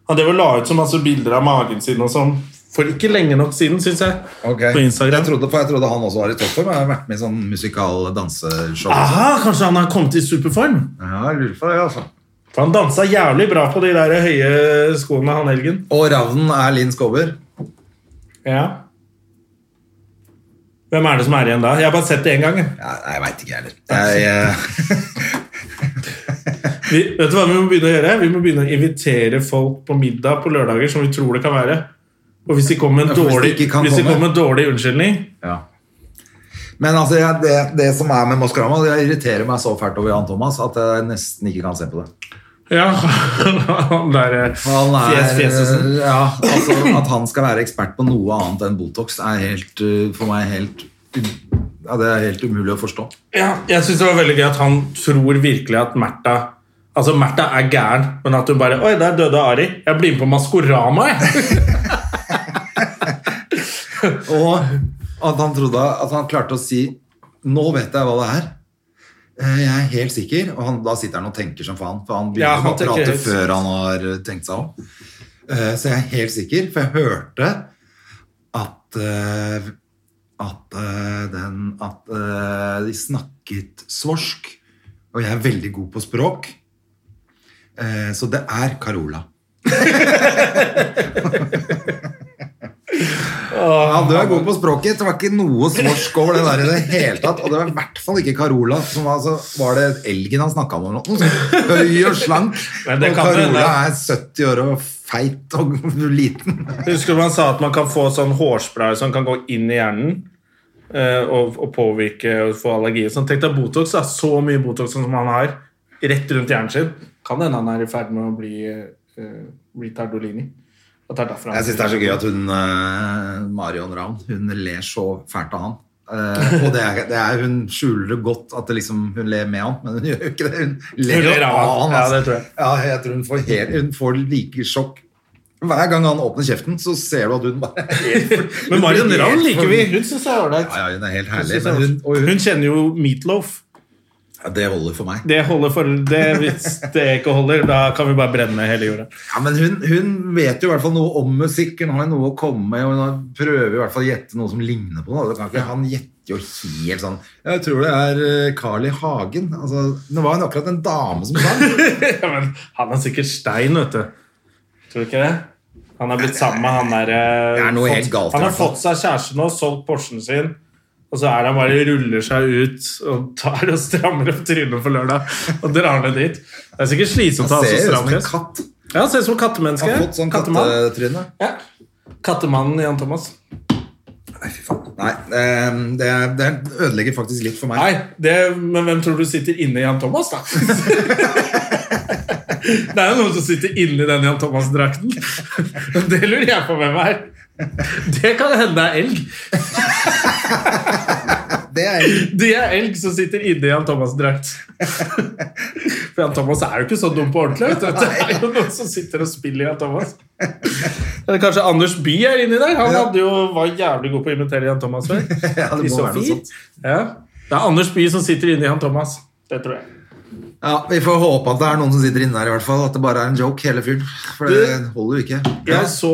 S1: han drev og la ut så masse bilder av magen sin og sånn for ikke lenge nok siden, syns jeg.
S2: Ok.
S1: På Instagram.
S2: Jeg trodde, for jeg trodde han også var i toppform. Jeg har vært med i sånn musikal danseshow.
S1: Aha, kanskje han har kommet i superform?
S2: Ja, jeg lurer på det, altså.
S1: For han dansa jævlig bra på de der høye skoene han helgen.
S2: Og ravnen er Linn Skåber.
S1: Ja. Hvem er det som er igjen da? Jeg har bare sett det én gang. jeg.
S2: Ja, nei, jeg veit ikke, jeg heller. Jeg, eh,
S1: Vi, vet du hva vi må begynne å gjøre? Vi må begynne å invitere folk på middag på lørdager som vi tror det kan være. Og hvis de kommer med
S2: Ja, for
S1: en
S2: hvis de
S1: dårlig,
S2: ikke kan
S1: hvis de
S2: komme.
S1: kommer med en dårlig unnskyldning
S2: Men altså, jeg, det, det som er med Maskorama, jeg irriterer meg så fælt over Jan Thomas at jeg nesten ikke kan se på det.
S1: Ja, han der eh,
S2: Han er,
S1: Fjes Fjesesen.
S2: ja, altså, at han skal være ekspert på noe annet enn Botox, er helt, uh, for meg helt um, ja, Det er helt umulig å forstå.
S1: Ja, jeg synes det var veldig gøy at han tror virkelig at Märtha Altså, Märtha er gæren, men at hun bare Oi, der døde Ari. Jeg blir med på Maskorama, jeg.
S2: Og at han trodde at han klarte å si Nå vet jeg hva det er. Eh, Jeg er helt sikker. Og han, da sitter han og tenker som faen, for han begynner
S1: Ja, han
S2: å
S1: tenker
S2: prate
S1: helt-
S2: før han har eh, tenkt seg om. Eh, Så jeg er helt sikker, for jeg hørte at eh, at eh, den at eh, de snakket svorsk, og jeg er veldig god på språk. Eh, Så det er Carola. Ja, du er god på språket. Det var ikke noe svorsk over det der i det hele tatt. Og det var i hvert fall ikke Carola. Som var, så var det elgen han snakka om eller noe? sånt. Høy og slank.
S1: Men det
S2: Og
S1: kan hende.
S2: Carola er 70 år og feit og liten.
S1: Husker du man sa at man kan få sånn hårspray som kan gå inn i hjernen? eh, Og, og påvirke og få allergi. og sånn. Tenk deg Botox. Da. Så mye Botox som han har rett rundt hjernen sin. Kan hende han er i ferd med å bli uh, retardolini. At det er derfor han
S2: Jeg syns det er så gøy at hun eh, Marion Ravn hun ler så fælt av han. Eh, og det er, det er, hun skjuler det godt at det liksom, hun ler med han, men hun gjør jo ikke det. Hun ler,
S1: Hun ler
S2: av han.
S1: Ja,
S2: altså.
S1: det tror jeg.
S2: Ja, jeg tror hun får, helt, hun får like sjokk. Hver gang han åpner kjeften, så ser du at hun bare
S1: Men Marion
S2: Hun blir
S1: Ravn
S2: helt
S1: liker vi.
S2: forvirret.
S1: Hun syns jeg er ålreit.
S2: Ja, ja, hun er helt
S1: Hun
S2: herlig.
S1: synes jeg
S2: Men hun,
S1: er-
S2: og hun,
S1: Hun kjenner jo Meatloaf.
S2: ja, det holder for meg.
S1: Det holder for det. Hvis det ikke holder, da kan vi bare brenne hele jorda.
S2: Ja, men hun, hun vet jo i hvert fall noe om musikk. Hun har jo noe å komme med. og Hun har- prøver i hvert fall å gjette noe som ligner på noe. Det kan ikke, han gjetter jo helt sånn Jeg tror det er eh, Carl I. Hagen. Altså, nå var hun akkurat en dame som sang.
S1: Ja, men han er sikkert stein, vet du. Tror du ikke det? Han er blitt sammen med han der eh,
S2: Det er noe
S1: fått-
S2: helt galt, altså.
S1: Han
S2: i
S1: har
S2: hvert fall.
S1: fått seg kjæreste nå, solgt Porschen sin. Og så er det han bare ruller seg ut og tar og strammer opp trynet for lørdag. Og drar det dit. Det er sikkert slitsomt å
S2: Han
S1: ha så
S2: ser ut
S1: stram
S2: som en
S1: dress.
S2: katt.
S1: Ja, han ser ut som en kattemenneske.
S2: Han har fått sånn
S1: Kattemann.
S2: kattetryne.
S1: Ja. Kattemannen Jan Thomas.
S2: Nei, eh, det, det ødelegger faktisk litt for meg.
S1: Nei, det, men hvem tror du sitter inne i Jan Thomas, da? det er jo noen som sitter inni den Jan Thomas-drakten. Det lurer jeg på hvem er. Det kan hende er elg.
S2: Det er
S1: Det er elg som sitter inni Jan Thomas-drakt. For Jan Thomas er jo ikke så dum på ordentlig. Vet du. Det er jo noen som sitter og spiller Jan Thomas. Eller kanskje Anders Bye er inni der? Han
S2: Ja.
S1: hadde jo, var jævlig god på å imitere Jan Thomas før.
S2: Ja, det må
S1: I
S2: være noe
S1: Sofie.
S2: sånt.
S1: Ja. Det er Anders Bye som sitter inni Jan Thomas. Det tror jeg.
S2: Ja, Vi får håpe at det er noen som sitter inne der, i hvert fall. At det bare er en joke, hele fyren. For det
S1: Du-
S2: holder jo ikke. Ja.
S1: Jeg så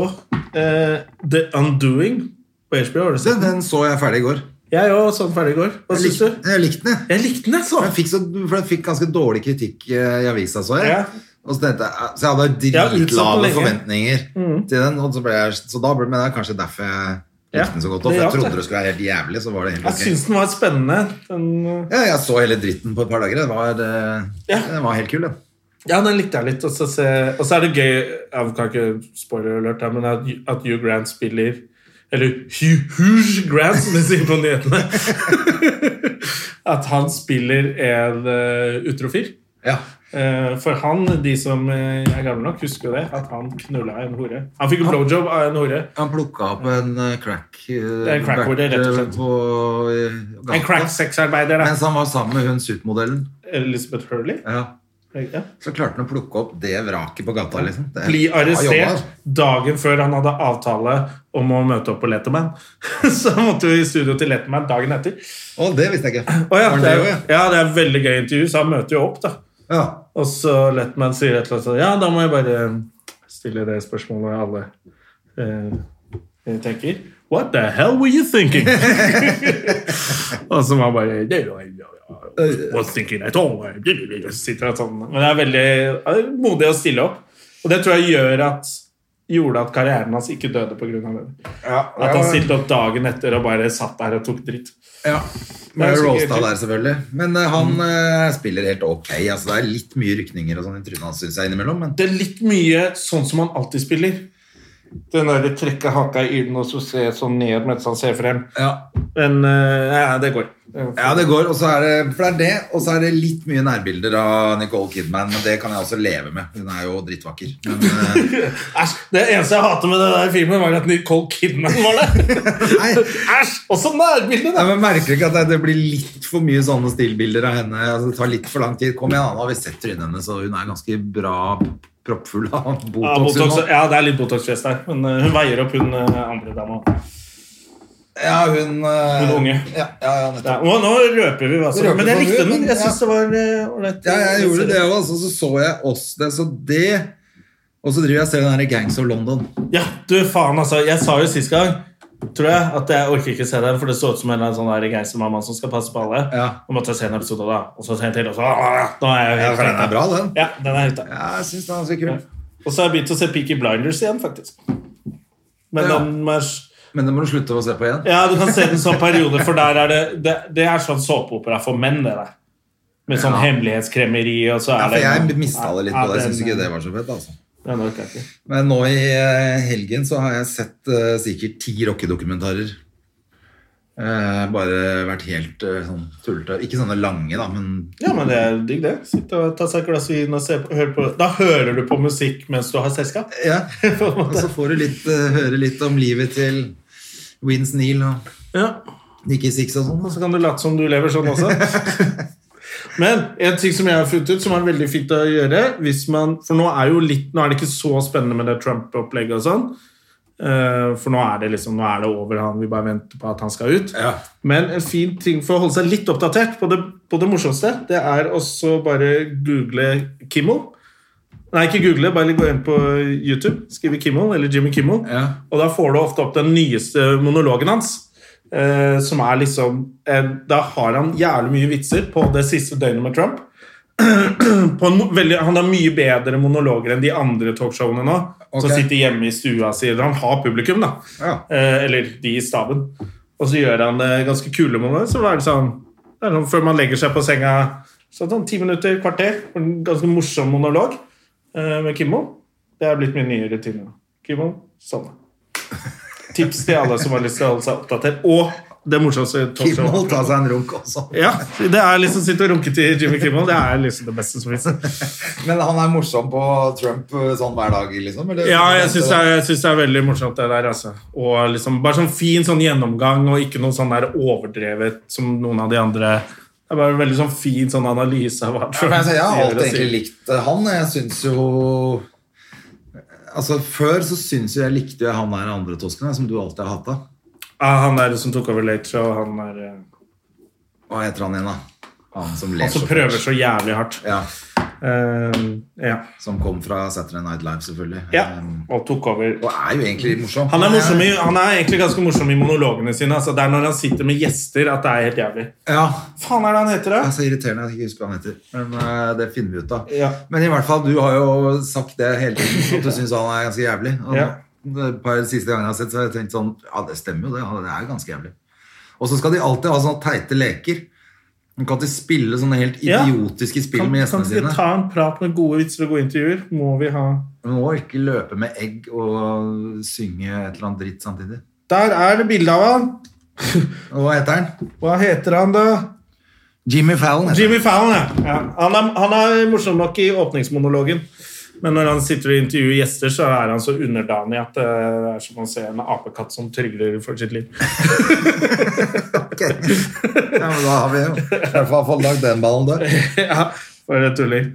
S1: eh, The Undoing på HBO. Har du
S2: Den,
S1: sett den?
S2: den så jeg ferdig i går.
S1: Jeg òg så den ferdig i går. Hva
S2: Jeg
S1: syns
S2: likte,
S1: du?
S2: jeg likte den, jeg.
S1: Jeg likte den, altså. jeg, så.
S2: Den fikk, så, for den fikk ganske dårlig kritikk eh, i avisa, så jeg.
S1: Ja.
S2: Og så, tenkte jeg, så jeg hadde
S1: Ja, utsatt den
S2: dritlave
S1: lenge. Mm.
S2: forventninger til den. Og så, ble jeg, så da ble men det er kanskje derfor jeg likte
S1: Ja,
S2: den så godt. Og
S1: det
S2: for jeg
S1: hjalp det.
S2: trodde det skulle være helt jævlig, så var det helt
S1: Jeg
S2: ok.
S1: syns den var spennende. Den, eh,
S2: Ja, jeg så hele dritten på et par dager. Det var, eh,
S1: Ja.
S2: den var helt kul, den.
S1: ja, den likte jeg litt. Og så, se, og så er det gøy Jeg kan ikke spoiler alert her, men at, at Hugh Grant spiller Eller Hugh Hugh Grant, som de sier på nyhetene. at han spiller en eh, utrofil.
S2: Ja.
S1: Eh, For han, de som eh, er gamle nok, husker jo det. At han knulla en hore. Han fikk en blowjob av en hore.
S2: Han plukka opp en eh, crack eh,
S1: er en crack-hore,
S2: vert,
S1: rett og
S2: eh,
S1: slett.
S2: På, eh, gata,
S1: En crack sexarbeider, da.
S2: Mens han var sammen med hun supermodellen.
S1: Elizabeth Hurley.
S2: Ja.
S1: Ja.
S2: Så klarte han å plukke opp det vraket på gata, liksom. Det er-
S1: Bli
S2: Ja, jobba,
S1: arrestert
S2: altså.
S1: dagen før han hadde avtale om å møte opp på Letterman. Så han måtte jo i studio til Letterman dagen etter.
S2: Å, det visste jeg ikke.
S1: Å ja,
S2: Var han
S1: det er,
S2: det også,
S1: ja, det er et veldig gøy intervju, så han møter jo opp, da.
S2: ja. ja.
S1: Og så Letterman sier et eller annet sånn Ja, da må jeg bare stille det spørsmålet alle eh, Jeg tenker What the hell were you thinking? og så var han bare "Det var- was thinking at all." Sitter han sånn. Men det er veldig han er modig å stille opp. Og det tror jeg gjør at gjorde at karrieren hans ikke døde pga. det.
S2: Ja,
S1: At han
S2: ja.
S1: stilte opp dagen etter og bare satt der og tok dritt.
S2: Ja.
S1: Det er
S2: Med
S1: så
S2: Rolstad
S1: gøy.
S2: der, selvfølgelig. Men eh, han eh, spiller helt ok. Altså, det er litt mye rykninger og sånn i trynet hans, synes jeg, innimellom. Men
S1: Det er litt mye sånn som han alltid spiller. Den derre trekke haka i ilden og så se sånn ned mens han ser frem.
S2: ja.
S1: Men eh, ja, det går.
S2: ja, det går. Og så er det, for det er det, og så er det litt mye nærbilder av Nicole Kidman, men det kan jeg også leve med. Hun er jo drittvakker. Men, eh,
S1: Æsj! Det eneste jeg hater med den der filmen, var at Nicole Kidman var der.
S2: nei,
S1: Æsj! Også nærbildet,
S2: nei,
S1: da!
S2: men Merker du ikke at det, det blir litt for mye sånne stillbilder av henne? Altså, det tar litt for lang tid. Kom igjen, da har vi sett trynet hennes, og hun er ganske bra proppfull av Botox.
S1: Ja,
S2: hun
S1: botox,
S2: også.
S1: ja, det er litt Botox-fjes der, men eh, hun veier opp hun eh, andre dama.
S2: ja, hun, eh,
S1: Hun unge.
S2: Ja, ja, ja, nettopp.
S1: Ja, nå, nå røper vi, altså.
S2: Røper
S1: Men jeg
S2: vi,
S1: likte den.
S2: men-
S1: Jeg syns det var eh, ålreit.
S2: Ja, jeg gjorde det også, og så så jeg oss det, så det Og så driver jeg og ser den her Gangs of London.
S1: Ja, du faen, altså. Jeg sa jo sist gang, tror jeg, at jeg orker ikke se den, for det så ut som en eller annen sånn der geistermamma som skal passe på alle.
S2: Ja.
S1: Nå måtte jeg se en episode av det, og så se en til, og så ah, Nå er jeg
S2: Ja,
S1: helt
S2: for den er bra, den.
S1: Ja, den er ute.
S2: Ja, jeg syns den er ganske kul.
S1: Og så har jeg begynt å se Peaky Blinders igjen, faktisk. Men
S2: Ja.
S1: den er
S2: Men det må du slutte å se på igjen.
S1: Ja, du kan se den sånn periode, for der er det Det, det er sånn såpeopera for menn, det der. Med sånn
S2: Ja.
S1: hemmelighetskremmeri og så er
S2: Ja, for
S1: det
S2: jeg mista det litt på det. Jeg syns
S1: den-
S2: ikke det var så fett, altså.
S1: den orker jeg ikke.
S2: Men nå i eh, helgen så har jeg sett eh, sikkert ti rockedokumentarer. Eh, bare vært helt eh, sånn tullete. Ikke sånne lange, da, men
S1: Ja, men det er digg, det. Sitte og ta seg et glass vin og se på, høre på Da hører du på musikk mens du har selskap.
S2: Ja.
S1: På en
S2: Og
S1: måte.
S2: så får du litt, eh, høre litt om livet til Wins Neal og
S1: Ja.
S2: Nikki Six og sånn.
S1: Og så kan du late som du lever sånn også. Men en ting som jeg har funnet ut, som er veldig fint å gjøre hvis man, For nå er, jo litt, nå er det ikke så spennende med det Trump-opplegget og sånn. Eh, for nå er det liksom, nå er det over han, vi bare venter på at han skal ut.
S2: Ja.
S1: Men en fin ting for å holde seg litt oppdatert på det, på det morsomste, det er også bare google Kimmel. Nei, ikke google, bare gå inn på YouTube, skrive Kimmel eller Jimmy Kimmel.
S2: Ja.
S1: Og da får du ofte opp den nyeste monologen hans. Eh, som er liksom eh, Da har han jævlig mye vitser på det siste døgnet med Trump. på en, mo- veldig, han har mye bedre monologer enn de andre talkshowene nå.
S2: Ok.
S1: Som sitter hjemme i stua si. eller Han har publikum, da.
S2: Ja.
S1: Eh, eller de i staben. Og så gjør han eh, ganske kule monologer. Så da er det sånn, det er sånn Før man legger seg på senga så er det sånn ti minutter, kvarter. En ganske morsom monolog eh, med Kimmo. Det er blitt min nye rutine. nå. Kimmo, sånn. Tips til alle som har lyst til å holde seg oppdatert. Og det morsomste
S2: Kimmel
S1: talkshowet.
S2: ta seg en runk også.
S1: Ja, det er liksom sitte og runke til Jimmy Kimmel. Det er liksom det beste som finnes.
S2: Men han er morsom på Trump eh, sånn hver dag, liksom? Eller?
S1: Ja, jeg syns det, er- jeg synes det er veldig morsomt, det der. Altså. Og liksom, bare sånn fin sånn gjennomgang, og ikke noe sånn der overdrevet som noen av de andre. Det er bare en veldig sånn fin sånn analyse av hva
S2: Ja, for jeg sier, Jeg har
S1: sier og
S2: alltid egentlig
S1: sier.
S2: likt eh, han. Jeg syns jo Altså, Før så syns jo jeg likte jo han der andre tosken, jeg, som du alltid har hata.
S1: Ja, han der som tok over Late Show, han er eh,
S2: Hva heter han igjen, da? Han som ler
S1: Han som
S2: så
S1: prøver
S2: fort.
S1: så jævlig hardt.
S2: Ja,
S1: Eh, ja.
S2: Som kom fra Saturday Night Live, selvfølgelig.
S1: ja.
S2: Um,
S1: Og tok over
S2: og er jo egentlig morsom.
S1: han er, morsom i, han er egentlig ganske morsom i monologene sine. Altså, det er når han sitter med gjester at det er helt jævlig.
S2: Ja,
S1: Faen er det han heter, da?
S2: Det er så irriterende at jeg ikke husker hva han heter. Men eh, det finner vi ut av.
S1: Ja.
S2: Men i hvert fall, du har jo sagt det hele tiden, at du syns han er ganske jævlig. Og
S1: Ja.
S2: de par siste gangene jeg har sett, så har jeg tenkt sånn Ja, det stemmer jo, det. Han er ganske jævlig. Og så skal de alltid ha sånne teite leker. De kan alltid spille sånne helt
S1: Ja.
S2: idiotiske spill
S1: Kan,
S2: med
S1: kan
S2: gjestene
S1: vi
S2: sine.
S1: ta en prat med gode vitser og gode intervjuer? Må vi ha
S2: Du må ikke løpe med egg og synge et eller annet dritt samtidig.
S1: Der er det bilde av han.
S2: Og hva heter han?
S1: Hva heter han, da?
S2: Jimmy Fallon. Heter han.
S1: Jimmy Fallon, ja. ja. Han, er, han er morsom nok i åpningsmonologen. Men når han sitter og intervjuer gjester, så er han så underdanig at eh, det er som å se en apekatt som trygler for sitt liv.
S2: Ok. Ja, men da har vi jo i hvert fall fått lagd den ballen der.
S1: ja, for et tulling.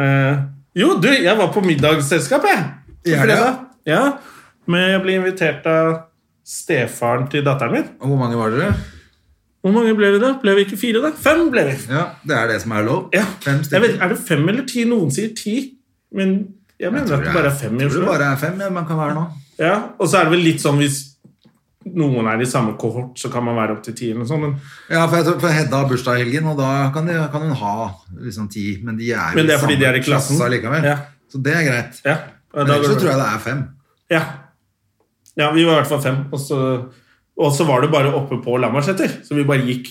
S1: Eh, jo, du, jeg var på middagsselskap, jeg.
S2: I helga?
S1: fredag. Ja, men jeg ble invitert av stefaren til datteren min.
S2: Og hvor mange var dere?
S1: Hvor mange ble vi da? Ble vi ikke fire, da? Fem ble vi.
S2: Ja, Det er det som er lov.
S1: Ja.
S2: Fem
S1: jeg
S2: stykker.
S1: vet, er det fem eller ti? Noen sier ti, men jeg mener at det bare er fem i
S2: Jeg tror
S1: Oslo.
S2: det bare er fem, ja, man kan være nå.
S1: Ja, og så er det vel litt sånn hvis noen er i samme kohort, så kan man være opptil ti eller noe sånt. Men,
S2: Ja, for, jeg, tror- for Hedda har bursdag i helgen, og da kan, de, kan hun ha liksom ti. Men de er jo
S1: Men det er
S2: i
S1: fordi
S2: samme
S1: de er i klassen.
S2: klasse allikevel.
S1: Ja.
S2: Så det er greit.
S1: ja, da
S2: Men ellers
S1: går
S2: så
S1: det
S2: tror
S1: bra.
S2: jeg det er fem.
S1: Ja. ja, vi var i hvert fall fem. Og så, og så var det bare oppe på Lambertseter, så vi bare gikk.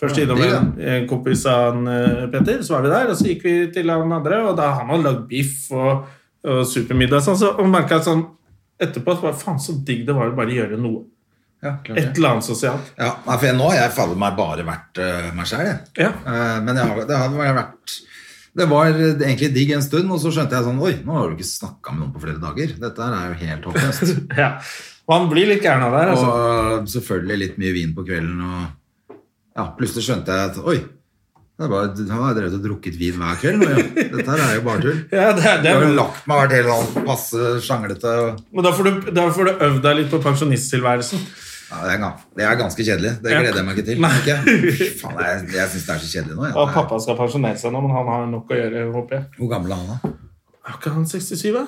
S1: Først innom
S2: digg,
S1: en, en kompis av han, eh, Peter, så var vi der, og så gikk vi til han andre, og da han hadde lagd biff og, og supermiddag og sånn, så, og merka jeg sånn etterpå at faen så digg det var å bare gjøre noe.
S2: Ja, klart
S1: Et
S2: det.
S1: eller annet sosialt.
S2: Ja, nei, for jeg, nå har jeg faller meg bare vært øh, meg sjæl, jeg.
S1: Ja.
S2: Eh, men jeg har, det har bare vært Det var egentlig digg en stund, og så skjønte jeg sånn Oi, nå har du ikke snakka med noen på flere dager. Dette her er jo helt håpløst.
S1: ja. Og han blir litt gæren av det her, altså.
S2: Og selvfølgelig litt mye vin på kvelden. Og ja, plutselig skjønte jeg at oi, det er bare, nå har jeg drevet og drukket vin hver kveld. nå, Ja. Dette her er jo bare tull.
S1: Ja, det, er- det
S2: Jeg har
S1: er
S2: jo lagt meg vært helt sånn passe sjanglete. og-
S1: Men da får du, da får du øvd deg litt på pensjonisttilværelsen.
S2: Ja, det, er, ga- det er ganske kjedelig. Det
S1: Ja.
S2: gleder jeg meg ikke til.
S1: Nei.
S2: Ikke? Fy Faen, jeg jeg syns det er så kjedelig nå. jeg. Det
S1: Og
S2: er-
S1: pappa skal pensjonere seg nå, men han har nok å gjøre, håper jeg.
S2: Hvor gammel er han da?
S1: Er ikke han 67, da?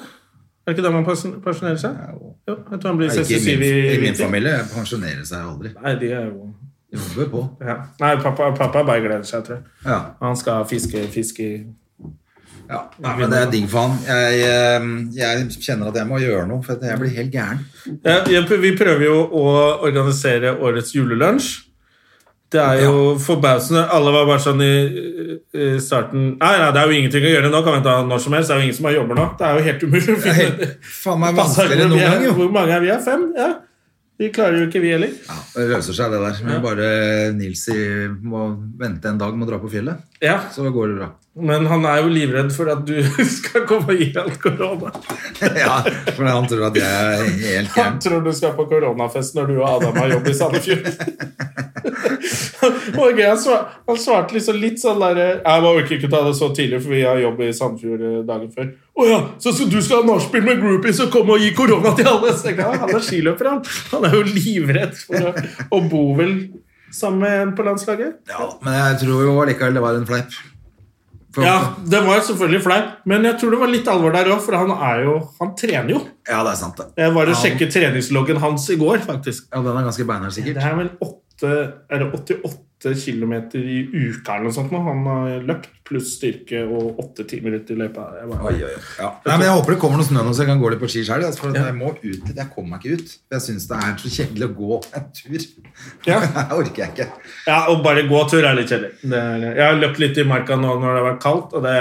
S1: Er ikke da man pension- pensjonerer seg?
S2: jo.
S1: Jo, jeg tror han blir
S2: Nei, Ikke
S1: 67
S2: i min, i min
S1: 90.
S2: familie. Jeg pensjonerer seg aldri.
S1: Nei, de er jo...
S2: Jobber på.
S1: Ja. Nei, pappa, pappa bare gleder seg, tror jeg.
S2: Ja.
S1: Han skal fiske, fiske...
S2: Ja, nei, men det er digg for han. Jeg, eh, jeg kjenner at jeg må gjøre noe, for at jeg blir helt gæren.
S1: Ja, jeg prø- vi prøver jo å organisere årets julelunch. Det er jo forbausende. Alle var bare sånn i, i starten... Nei, nei, det er jo ingenting å gjøre nå. Kan vi ta når som helst. Det er jo ingen som har jobber nå. Det er jo helt umulig å
S2: Det er
S1: finne...
S2: helt- Faen meg
S1: Passer
S2: vanskeligere enn noen
S1: ikke, hvor vi er-
S2: gang, jo.
S1: Hvor mange er vi? Er fem? Ja. Vi klarer jo ikke, vi heller.
S2: Ja, det løser seg, det der. Men bare Nils i, må vente en dag med å dra på fjellet,
S1: Ja,
S2: så går det bra.
S1: Men han er jo livredd for at du skal komme og gi han korona.
S2: Ja, for han tror at jeg er helt
S1: Han
S2: gæren.
S1: tror du skal på koronafest når du og Adam har jobb i Sandefjord. Og gøy, han, svar, han svarte liksom litt sånn derre Jeg bare orker ikke ta det så tidlig, for vi har jobb i Sandefjord eh, dagen før. Å ja, så, så du skal ha nachspiel med groupies og komme og gi korona til alle? Så jeg, ja, han er skiløper, han. Han er jo livredd for å Og bor vel sammen med en på landslaget?
S2: Ja, men jeg tror jo likevel det var en fleip. For-
S1: Ja, det var selvfølgelig fleip, men jeg tror det var litt alvor der òg, for han er jo Han trener jo.
S2: ja, det er sant, det.
S1: Jeg var og
S2: Ja.
S1: sjekket treningsloggen hans i går, faktisk.
S2: Ja, den er ganske beinhard,
S1: Det
S2: sikkert.
S1: er vel åtte, er det 88 km i uka eller noe sånt nå. Han har løpt pluss styrke og åtte timer ut i løypa. Jeg bare-
S2: Oi, oi, oi. Ja. Nei, men Jeg håper det kommer noe snø nå, så jeg kan gå litt på ski sjøl. For at jeg må ut litt. Jeg kommer meg ikke ut. Jeg syns det er så kjedelig å gå en tur.
S1: Ja.
S2: Det orker jeg ikke.
S1: Ja, og bare gå tur er litt kjedelig. Det er- Jeg har løpt litt i marka nå når det har vært kaldt, og det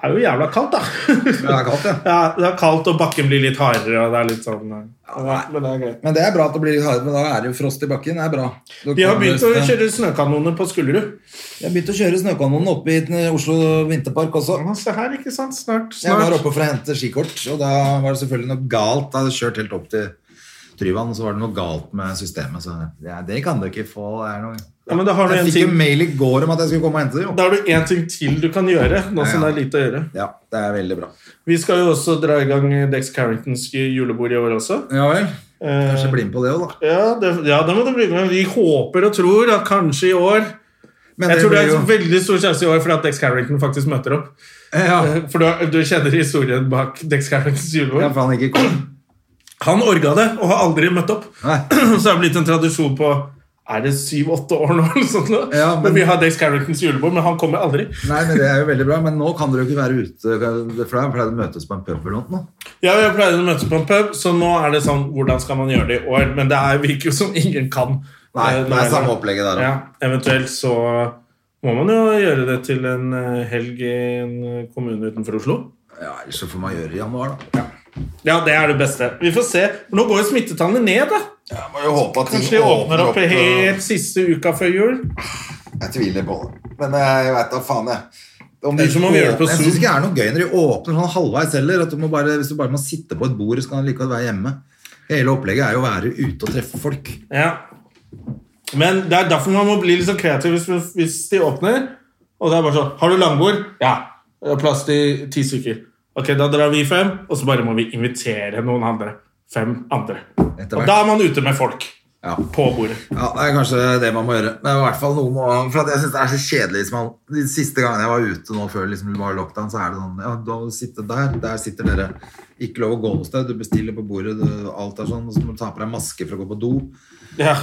S1: er jo jævla kaldt, da.
S2: Det er kaldt, ja.
S1: Ja, det er kaldt, og bakken blir litt hardere, og det er litt sånn ja, Men det er greit.
S2: Men det er bra at det blir litt hardere, men da er det jo frost i bakken. Det er bra. Da
S1: De har
S2: kan
S1: begynt
S2: du-
S1: å kjøre snøkanoner på Skullerud.
S2: Jeg har begynt å kjøre snøkanonen oppe i eh, Oslo vinterpark også.
S1: Ja, Se her, ikke sant? Snart.
S2: Jeg var
S1: snart.
S2: oppe for å hente skikort, og da var det selvfølgelig noe galt. Da hadde jeg kjørt helt opp til Tryvann, og så var det noe galt med systemet. Så ja, det kan du ikke få. Det er noe...
S1: Ja, men da har du
S2: Jeg
S1: en
S2: fikk jo
S1: ting,
S2: mail i går om at jeg skulle komme og hente det, jo.
S1: da har du en ting til du kan gjøre, nå som
S2: Ja, ja.
S1: det er lite å gjøre.
S2: Ja, det er veldig bra.
S1: Vi skal jo også dra i gang Dex Carringtons julebord i år også.
S2: Ja vel.
S1: Eh,
S2: Kanskje bli med på det òg, da.
S1: ja, det, ja, det må du bli med. Vi håper og tror at kanskje i år
S2: Men
S1: Jeg tror det
S2: blir
S1: er
S2: jo-
S1: en veldig stor sjanse i år for at Dex Carrington faktisk møter opp. Eh,
S2: ja.
S1: For du, du kjenner historien bak Dex Carringtons
S2: ja,
S1: julebord.
S2: for han ikke kom.
S1: Han orga det og har aldri møtt opp.
S2: Nei.
S1: Så det har blitt en tradisjon på er det syv-åtte år nå? eller sånt nå?
S2: Ja, men-
S1: men... Vi har Dex Carringtons julebord, men han kommer aldri.
S2: Nei, men Det er jo veldig bra, men nå kan dere jo ikke være ute. For da pleide å møtes på en pub eller noe.
S1: Ja, Jeg pleide å møtes på en pub, så nå er det sånn Hvordan skal man gjøre det i år? Men det er, virker jo som ingen kan.
S2: Nei,
S1: Eh,
S2: det er samme
S1: nå.
S2: opplegget der
S1: Ja,
S2: òg.
S1: eventuelt så må man jo gjøre det til en eh, helg i en eh, kommune utenfor Oslo.
S2: Ja, ellers så får man gjøre det i januar, da.
S1: Ja, det er det beste. Vi får se. Nå går jo smittetallene ned, da.
S2: Ja, må jo håpe at
S1: Kanskje de åpner opp helt siste uka før jul.
S2: Jeg tviler på det. Men eh, jeg veit da faen, jeg. Om
S1: Ellers så må vi gjøre det på
S2: åpner- jeg
S1: Zoom.
S2: syns ikke det er noe gøy når de åpner sånn halvveis heller. At du må bare, hvis du bare må sitte på et bord, så kan du likevel være hjemme. Hele opplegget er jo å være ute og treffe folk.
S1: Ja. Men det er derfor man må bli litt sånn kreativ hvis, hvis de åpner. Og det er bare sånn Har du langbord? Ja. Det er plass til ti stykker. Ok, da drar vi fem, og så bare må vi invitere noen andre. Fem andre.
S2: Etter
S1: Og
S2: hvert.
S1: da er man ute med folk.
S2: Ja.
S1: på bordet.
S2: Ja, det er kanskje det man må gjøre. Men i hvert fall noe må, for at jeg synes det er så kjedelig hvis man, De siste gangene jeg var ute nå før liksom, det var lockdown, så er det sånn ja, da sitter der, der sitter dere. Ikke lov å gå noe sted. Du bestiller på bordet, du, alt er sånn. Og så må du ta på deg maske for å gå på do.
S1: Ja.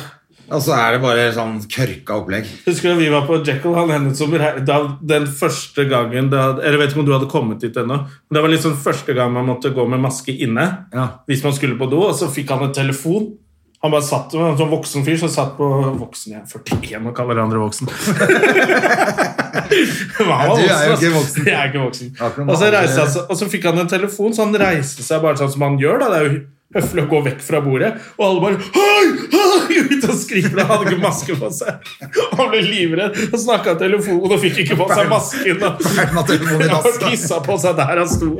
S2: Og så er det bare sånn kørka opplegg.
S1: Husker du vi var på Jekyll han Hennet-sommer her, da den første gangen da, Jeg vet ikke om du hadde kommet dit ennå. men Det var liksom første gang man måtte gå med maske inne
S2: Ja.
S1: hvis man skulle på do, og så fikk han en telefon. Han bare satt, det var en sånn voksen fyr som satt på Voksen, jeg er 41 og kaller andre voksen. Hva var
S2: Nei, du er jo
S1: ass?
S2: ikke voksen.
S1: Jeg er ikke voksen.
S2: Akkurat
S1: Og så,
S2: nå.
S1: reiste han, seg- og så fikk han en telefon, så han reiste seg bare sånn som han gjør. da, Det er jo høflig å gå vekk fra bordet. Og alle bare hei, hei, ut og skriker. Han hadde ikke maske på seg. Og Han ble livredd og snakka i telefonen og fikk ikke på seg masken.
S2: Ferdig med telefonen i
S1: Og
S2: dass, da.
S1: pissa på seg der han sto.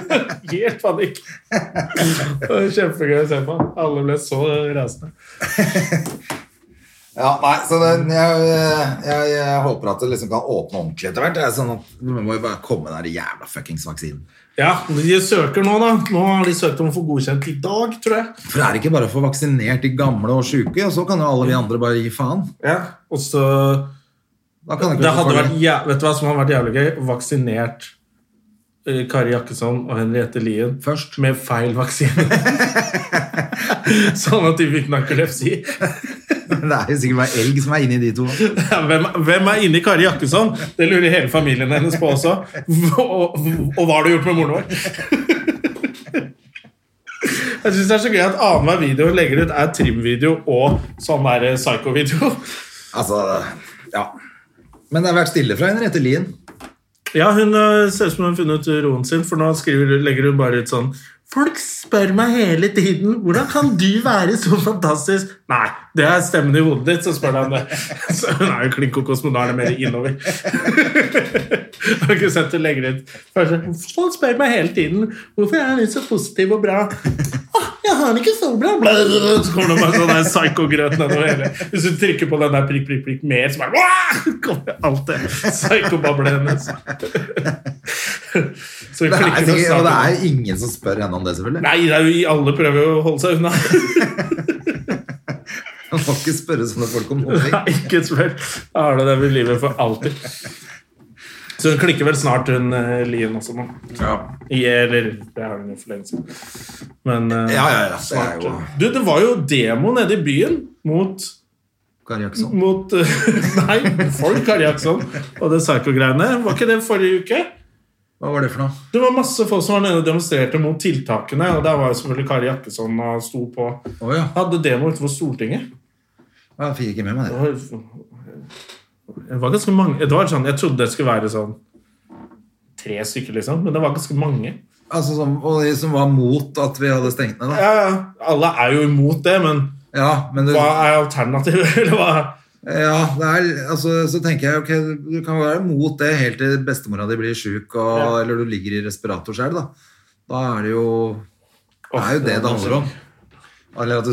S1: Helt panikk. Det var Kjempegøy å se på. Alle ble så rasende.
S2: Ja, nei, så det, jeg, jeg, jeg håper at det liksom kan åpne ordentlig etter hvert. Det er sånn at Man må jo bare komme med den der jævla fuckings vaksinen.
S1: Ja, de søker nå, da. Nå har de søkt om å få godkjent i dag, tror jeg.
S2: For det er ikke bare å få vaksinert de gamle og sjuke, og så kan jo alle vi andre bare gi faen.
S1: Ja, og så
S2: Da kan
S1: Det hadde vært, jæ- vet du hva som hadde vært jævlig gøy? Vaksinert eh, Kari Jakkesson og Henriette Lien
S2: Først.
S1: med feil vaksine. sånn at de fikk narkolepsi.
S2: Det er jo sikkert bare elg som er inni de to.
S1: Hvem, hvem er inni Kari Jakkesson? Det lurer hele familien hennes på også. Og, og hva har du gjort med moren vår? Jeg synes det er så gøy at annenhver video hun legger ut, er trimvideo og sånn der psycho-video.
S2: Altså, ja. Men det har vært stille fra Henriette Lien.
S1: Ja, hun ø, ser ut som hun har funnet roen sin, for nå skriver, legger hun bare ut sånn Folk spør meg hele tiden hvordan kan du være så fantastisk. Nei, det er stemmen i hodet ditt som spør deg om det. Så hun er jo klin kokos, men nå er det mer innover. Har du ikke sett hun legger ut Først sånn, Folk spør meg hele tiden hvorfor er hun så positiv og bra. «Åh, Jeg har det ikke så bra. Bla, bla, bla. Så kommer det bare sånn der psyko-grøt nedover hele. Hvis du trykker på den der prikk, prikk, prikk mer, så bare «Wah!» kommer alt det psykobablet hennes. Så vi
S2: Det er sikkert,
S1: klikker oss
S2: og det er
S1: sammen.
S2: jo ingen som spør henne om det, selvfølgelig.
S1: Nei, det er jo, alle prøver jo å holde seg unna.
S2: Man må ikke spørre sånne folk om noe.
S1: Nei, ikke spør. Da har du det ved livet for alltid. Så hun klikker vel snart, hun eh, Lien også nå.
S2: Ja.
S1: I- Eller det har hun jo for lenge siden. Men eh,
S2: Ja, ja, ja, det er
S1: snart.
S2: jo
S1: Du, det var jo demo nede i byen mot
S2: Kari Jaksson.
S1: mot eh, Nei, folk Kari Jaksson sånn? og det psycho-greiene. Var ikke det forrige uke?
S2: Hva var det for noe?
S1: Det var masse folk som var nede og demonstrerte mot tiltakene, og der var jo selvfølgelig Kari Jakkesson og sto på.
S2: Å ja.
S1: Hadde demo utenfor Stortinget.
S2: Jeg fikk ikke med meg
S1: Det
S2: det.
S1: var, det var ganske mange det var sånn, Jeg trodde det skulle være sånn tre stykker, liksom, men det var ganske mange.
S2: Altså, som, og de som var mot at vi hadde stengt ned, da.
S1: Ja, ja, Alle er jo imot det, men
S2: Ja, men det,
S1: hva er alternativet? Eller hva?
S2: ja, det er, altså, så tenker jeg ok, du kan være mot det helt til bestemora di blir sjuk, og,
S1: Ja.
S2: eller du ligger i respirator selv, da. Da er det jo Det er jo det det handler om. Eller at du,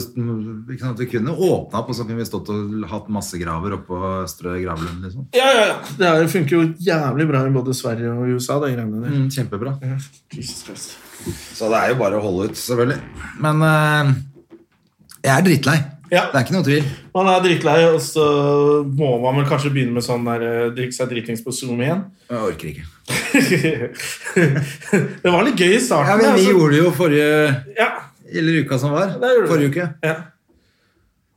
S2: ikke sant, Vi kunne åpna opp, og så kunne vi stått og hatt massegraver oppå Østre gravlund. Liksom.
S1: Ja, ja, ja. Det her funker jo jævlig bra i både Sverige og USA, de greiene der.
S2: Mm, Kjempebra.
S1: Mm. Jesus Christ.
S2: Så det er jo bare å holde ut, selvfølgelig. Men eh, jeg er drittlei.
S1: Ja.
S2: Det er ikke noe tvil.
S1: Man er drittlei, og så må man vel kanskje begynne med sånn der eh, drikke seg dritings på Zoom igjen.
S2: Jeg orker ikke.
S1: det var litt gøy i
S2: Ja,
S1: starten.
S2: men Vi
S1: altså.
S2: gjorde det jo forrige
S1: ja,
S2: Eller uka som var.
S1: det gjorde vi.
S2: Forrige uke.
S1: ja.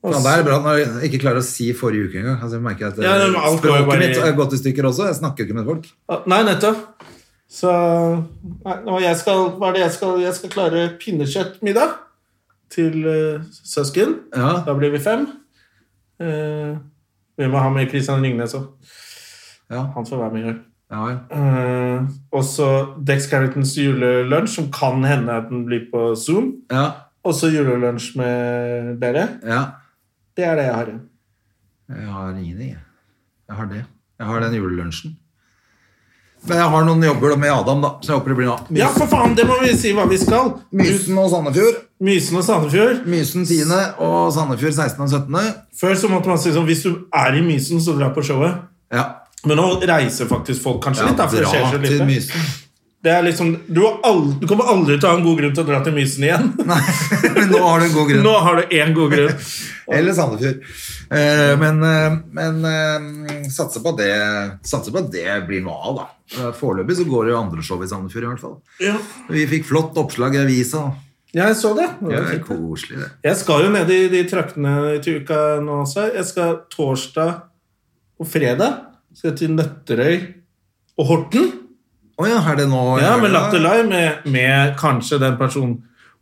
S1: Og
S2: Faen,
S1: så-
S2: det er bra når jeg ikke klarer å si forrige uke engang. Altså, jeg merker at
S1: Ja, det var alt går jo
S2: Språket
S1: bare i-
S2: mitt har gått i stykker også. Jeg snakker jo ikke med folk.
S1: Ah, Nei, nettopp. Så nei, nå, jeg skal, Hva er det jeg skal Jeg skal klare pinnekjøttmiddag til eh, søsken.
S2: Ja.
S1: Da blir vi fem. Eh, vi må ha med Kristian Ringnes òg.
S2: Ja.
S1: Han får være med i år.
S2: Ja, vel.
S1: Eh, også Dex Carringtons julelunsj, som kan hende at den blir på Zoom.
S2: ja,
S1: Også julelunsj med dere.
S2: ja.
S1: Det er det jeg har igjen.
S2: Jeg har ingenting, jeg. Jeg har det. Jeg har den julelunsjen. Men jeg har noen jobber da med Adam, da. Så jeg håper det blir noe.
S1: Ja, for faen, det må vi si hva vi skal!
S2: Mysen og Sandefjord.
S1: Mysen og Sandefjord.
S2: Mysen 10. og Sandefjord 16. og 17.
S1: Før så måtte man si sånn hvis du er i Mysen, så dra på showet.
S2: Ja.
S1: Men nå reiser faktisk folk kanskje
S2: ja
S1: litt. da, for det skjer
S2: dra
S1: så
S2: til
S1: lite.
S2: Mysen.
S1: Det er liksom, du, har aldri, du kommer aldri til å ha en god grunn til å dra til Mysen igjen.
S2: Nei, men nå har du en god grunn.
S1: Nå har du én god grunn.
S2: Eller Sandefjord. Eh, Men, eh, men eh, satser på at det, satser på at det blir noe av, da. Eh, Foreløpig så går det jo andre show i Sandefjord, i hvert fall.
S1: Ja.
S2: Vi fikk flott oppslag i avisa.
S1: Jeg så det.
S2: Det er koselig, det.
S1: Jeg skal jo ned i de traktene til uka nå også. Jeg skal torsdag og fredag skal jeg til Nøtterøy og Horten.
S2: Å ja, er det nå
S1: Ja, med Latter Live, med, med kanskje den personen.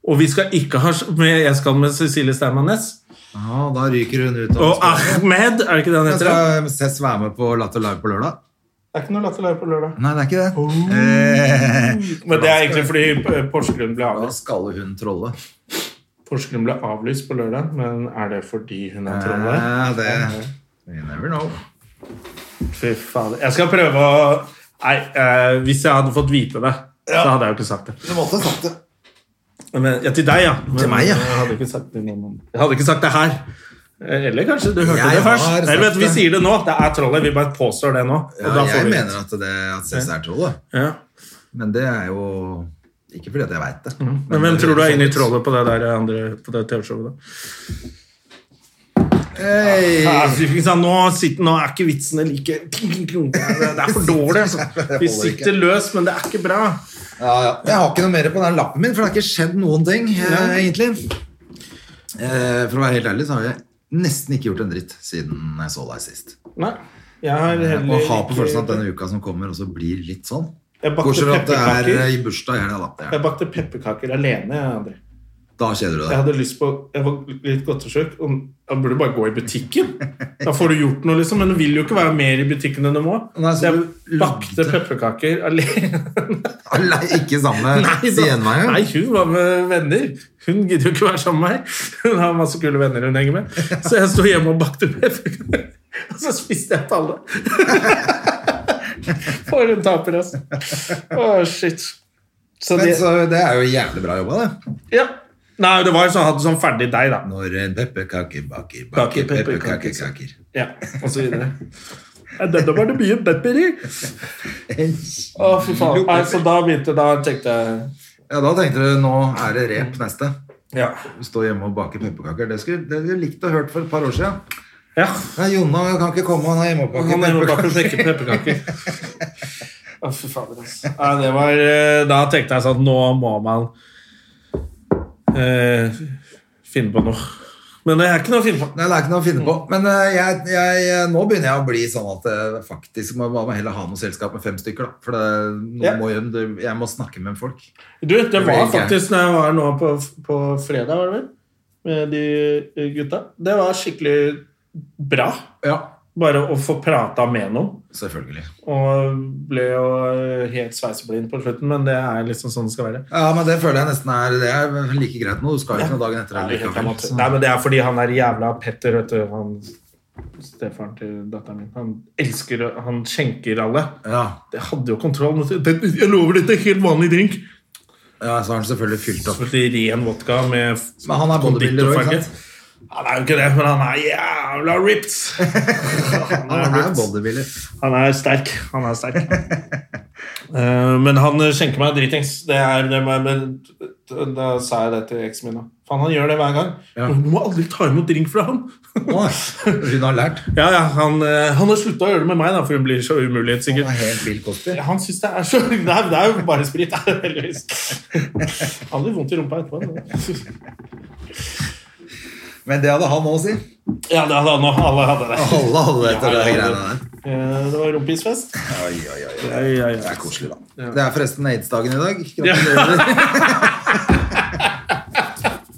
S1: Og vi skal ikke ha med, Jeg skal med Cecilie Steinmann Næss.
S2: Ja, da ryker hun ut.
S1: Og Ahmed, er det ikke det han
S2: Jeg
S1: heter? da?
S2: skal ses være med på Latter Live på lørdag.
S1: Det er ikke noe Latter Live på lørdag.
S2: Nei, det er ikke det.
S1: Oh.
S2: Eh,
S1: Men det er egentlig fordi Porsgrunn ble
S2: Da
S1: avlyst.
S2: skal hun trolle.
S1: Porsgrunn ble avlyst på lørdag, men er det fordi hun er trollet?
S2: Eh, det You never know.
S1: Fy fader. Jeg skal prøve å Nei, eh, hvis jeg hadde fått vite det, så hadde jeg jo ikke sagt det.
S2: Du måtte sagt det.
S1: Men, ja, til deg, ja. Men,
S2: Til meg, ja.
S1: Jeg hadde ikke sagt det, noen- jeg hadde ikke sagt det her. Eh, Eller kanskje du hørte
S2: Jeg
S1: det først.
S2: har
S1: Nei, vet,
S2: sagt
S1: vi
S2: det.
S1: sier det nå. Det er trollet. Vi bare påstår det nå. og
S2: Ja,
S1: da får
S2: jeg
S1: vi-
S2: mener at, det, at Cess er trollet.
S1: ja.
S2: Men det er jo ikke fordi at jeg veit det.
S1: Mm. Men hvem tror du er inne i trollet på det der andre på det TV-showet? da? Ja,
S2: Hey.
S1: fy, ikke sant? Nå, sitter, nå er ikke vitsene like Det er det er for dårlig. Altså. Vi sitter løs, men det er ikke bra.
S2: Ja, ja. Jeg har ikke noe mer på den lappen min, for det har ikke skjedd noen ting. Eh, egentlig eh, For å være helt ærlig så har jeg nesten ikke gjort en dritt siden jeg så deg sist.
S1: Nei. Jeg har
S2: Eh,
S1: heller
S2: Og har på
S1: ikke-
S2: følelsen at denne uka som kommer, også blir litt sånn.
S1: Jeg bakte
S2: Bortsett fra at det er
S1: pepperkaker.
S2: eh, i bursdag i helga, da. Det
S1: Jeg
S2: er-
S1: bakte pepperkaker alene. jeg, André.
S2: Da kjeder du
S1: Jeg
S2: deg.
S1: hadde lyst på Jeg var litt godtesjuk. og Jeg burde bare gå i butikken. Da får du gjort noe, liksom. Men du vil jo ikke være mer i butikken enn du må.
S2: Nei, så
S1: Så
S2: du
S1: jeg bakte
S2: lagde-
S1: pepperkaker alene.
S2: Alle er ikke samme
S1: så-
S2: gjenveien.
S1: Nei, hun var med venner. Hun gidder jo ikke være sammen med meg. Hun har masse kule venner hun henger med. Så jeg sto hjemme og bakte pepperkaker. Og så spiste jeg opp alle. For en taper, altså. Å, shit. Så
S2: Men
S1: det,
S2: så, det er jo jævlig bra jobba, det.
S1: ja. Nei, det var jo sånn, jeg hadde sånn ferdig deg, da.
S2: Når en pepperkake baker,
S1: Baker
S2: baker
S1: pepperkaker.
S2: pepperkakekaker.
S1: Ja, og så videre. Ja, Denne var det mye pepper i. Å, fy faen. Nei, så da begynte da tenkte jeg
S2: Ja, da tenkte du nå er det rep neste.
S1: Ja.
S2: Stå hjemme og bake pepperkaker. Det skulle det skulle jeg likt å hørt for et par år siden.
S1: ja.
S2: Nei, Jonna kan ikke komme, han har hjemmeoppbakt
S1: Han er jo bak og
S2: pepperkaker.
S1: sjekker pepperkaker. Å, fy fader, ass. Nei, det var eh, Da tenkte jeg sånn Nå må man eh, finne på noe. Men det er ikke noe å finne på.
S2: Nei, det er ikke noe å finne på. Men eh, jeg, jeg, nå begynner jeg å bli sånn at jeg faktisk må må heller ha noe selskap med fem stykker, da. For det, nå
S1: Ja.
S2: må jeg, det- jeg må snakke med folk.
S1: Du, det
S2: blir
S1: var
S2: gøy.
S1: faktisk når jeg var nå på, på fredag, var det vel, med de eh, gutta. Det var skikkelig bra.
S2: Ja,
S1: Bare å få prata med noen.
S2: selvfølgelig.
S1: Og ble jo eh, helt sveiseblind på slutten, men det er liksom sånn det skal være.
S2: Ja, men det føler jeg nesten er Det er like greit nå. Du skal jo ikke noe dagen etter
S1: Nei,
S2: heller. likevel, så-
S1: men Det er fordi han er jævla Petter, vet du. Han, stefaren til datteren min. Han elsker Han skjenker alle.
S2: Ja.
S1: Det hadde jo kontroll. men så- det- Jeg lover dette, helt vanlig drink.
S2: ja, så har han selvfølgelig fylt opp.
S1: Selvfølgelig ren vodka med f-
S2: Men han er bodybuilder også, ikke
S1: konditorfarge.
S2: sant?
S1: Han er jo ikke det, men han er jævla ripped. Han
S2: Han er
S1: ripped.
S2: bodybuilder.
S1: Han er sterk. Han er sterk. Eh, men han eh, skjenker meg dritings. Det er, det er, men, da sa jeg det til eksen min. da. Faen, han gjør det hver gang.
S2: Ja.
S1: Men Du må aldri ta imot drink fra han.
S2: Å, Hun har lært.
S1: ja, ja, Han, eh, han har slutta å gjøre det med meg, da, for hun blir så umulighet,
S2: Hun
S1: sikkert.
S2: er helt vill Cosby.
S1: Ja, Han syns det er så Nei, det er jo bare sprit, da, heldigvis. Aldri vondt i rumpa etterpå. da.
S2: Men det hadde han òg, si.
S1: Ja, det hadde han òg. Alle hadde det.
S2: Alle hadde etter
S1: Ja,
S2: de
S1: ja, ja.
S2: greiene der.
S1: Eh, Det var rumpisfest.
S2: Oi, oi, oi, oi.
S1: Ja, ja,
S2: Det
S1: ja.
S2: er koselig, da. Det er forresten aids-dagen i dag.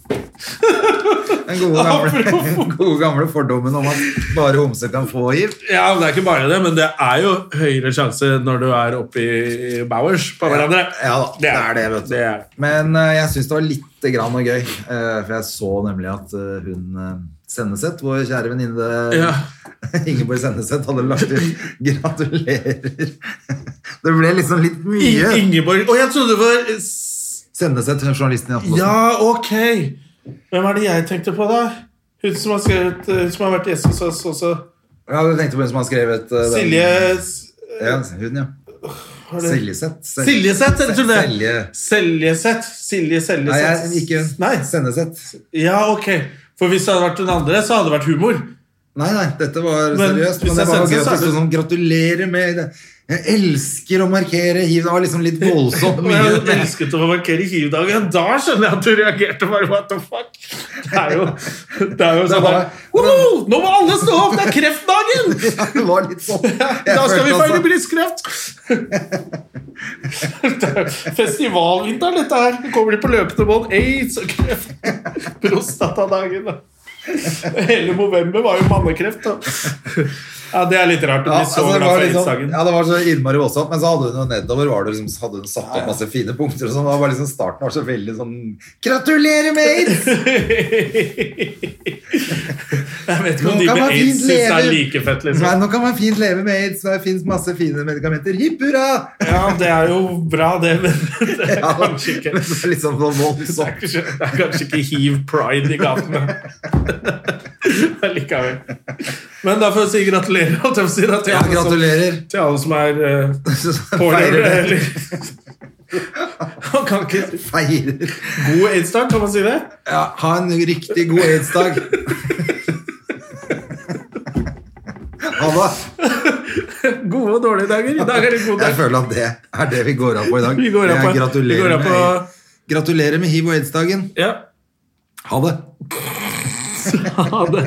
S2: Gratulerer. Den gode gamle, gode gamle fordommen om at bare homser kan få hiv.
S1: Ja, men Det er ikke bare det, men det er jo høyere sjanse når du er oppi Bowers på hverandre.
S2: Ja da, det er det, vet du.
S1: Det er.
S2: Men eh, jeg syns det var litt grann noe gøy. eh, for jeg så nemlig at eh, hun uh, Senneset, vår kjære venninne
S1: Ja.
S2: Ingeborg Senneset, hadde lagt ut 'gratulerer'. det ble liksom litt
S1: In
S2: mye.
S1: Ingeborg Å, jeg trodde det var s-
S2: Senneset, journalisten i Aftenposten.
S1: Ja, ok! Hvem er det jeg tenkte på, da? Hun som har, skrevet, eh, hun som har vært gjest hos oss også.
S2: Ja, du tenkte på hun som har skrevet eh, den-
S1: Silje s-
S2: Ja, hun, ja.
S1: Har du-
S2: Seljeseth. Sel-
S1: Siljeseth, eller tror du det?
S2: Selje...
S1: Seljeseth. Silje
S2: Nei,
S1: Seljeseth.
S2: jeg, ikke
S1: Nei.
S2: Senneseth.
S1: Ja, ok. For hvis det hadde vært den andre, så hadde det vært humor.
S2: Nei, nei, dette var
S1: Men
S2: seriøst.
S1: hvis
S2: Men det
S1: jeg
S2: var
S1: sendte,
S2: gøy at
S1: så
S2: det
S1: er
S2: stod
S1: det-
S2: sånn 'gratulerer med det'. Jeg elsker å markere hiv. Det var liksom litt voldsomt
S1: Men jeg
S2: mye.
S1: elsket å markere hivdagen. Da skjønner jeg at du reagerte bare what the fuck. Det er jo, det er jo sånn
S2: var-
S1: der, «Woho, Nå må alle stå opp! Det er kreftdagen!
S2: Det var litt sånn. Jeg
S1: Da skal
S2: følte
S1: vi
S2: altså-
S1: feire brystkreft! Det er Festivalvinteren, dette her. Det Kommer de på løpende bånd? Aids og kreft. Prostatadagen. da. Hele november var jo mannekreft. Da. Ja, det er litt rart å
S2: Ja,
S1: bli
S2: altså,
S1: så
S2: det,
S1: glad
S2: var
S1: for
S2: liksom,
S1: aids-dagen.
S2: ja, det var så innmari voldsomt, men så hadde hun jo nedover var det liksom, så hadde hun satt opp masse fine punkter. Og sånn, og det var liksom Starten var så veldig sånn 'Gratulerer med aids!'
S1: Jeg vet ikke om
S2: Nå
S1: de
S2: kan man
S1: med aids
S2: fint
S1: syns det er
S2: leve.
S1: like fett,
S2: Nei,
S1: liksom.
S2: nå kan man fint leve med aids, det fins masse fine medikamenter. Hipp hurra!
S1: Ja, det er jo bra, det, men det er
S2: Ja, men
S1: kanskje ikke
S2: så liksom sånn
S1: Det er
S2: voldsomt.
S1: kanskje, det er kanskje ikke hiv pride i gatene. Men Likevel. Men da får jeg si gratulerer holdt jeg på å si, da, til,
S2: Ja,
S1: alle som,
S2: gratulerer.
S1: til alle som er eh,
S2: Feirer
S1: pårørende.
S2: det.
S1: Eller. Man kan ikke
S2: Feirer.
S1: God aids-dag, kan man si det?
S2: Ja, ha en riktig god aids-dag. Ha det.
S1: Gode og dårlige dager. I dag er det god
S2: Jeg
S1: dag.
S2: føler at det er det vi går av på i dag.
S1: Vi går av
S2: Det er
S1: på-
S2: gratulerer,
S1: vi går av på-
S2: med, gratulerer med hiv- og aids-dagen.
S1: Ja.
S2: Ha det.
S1: Ha det.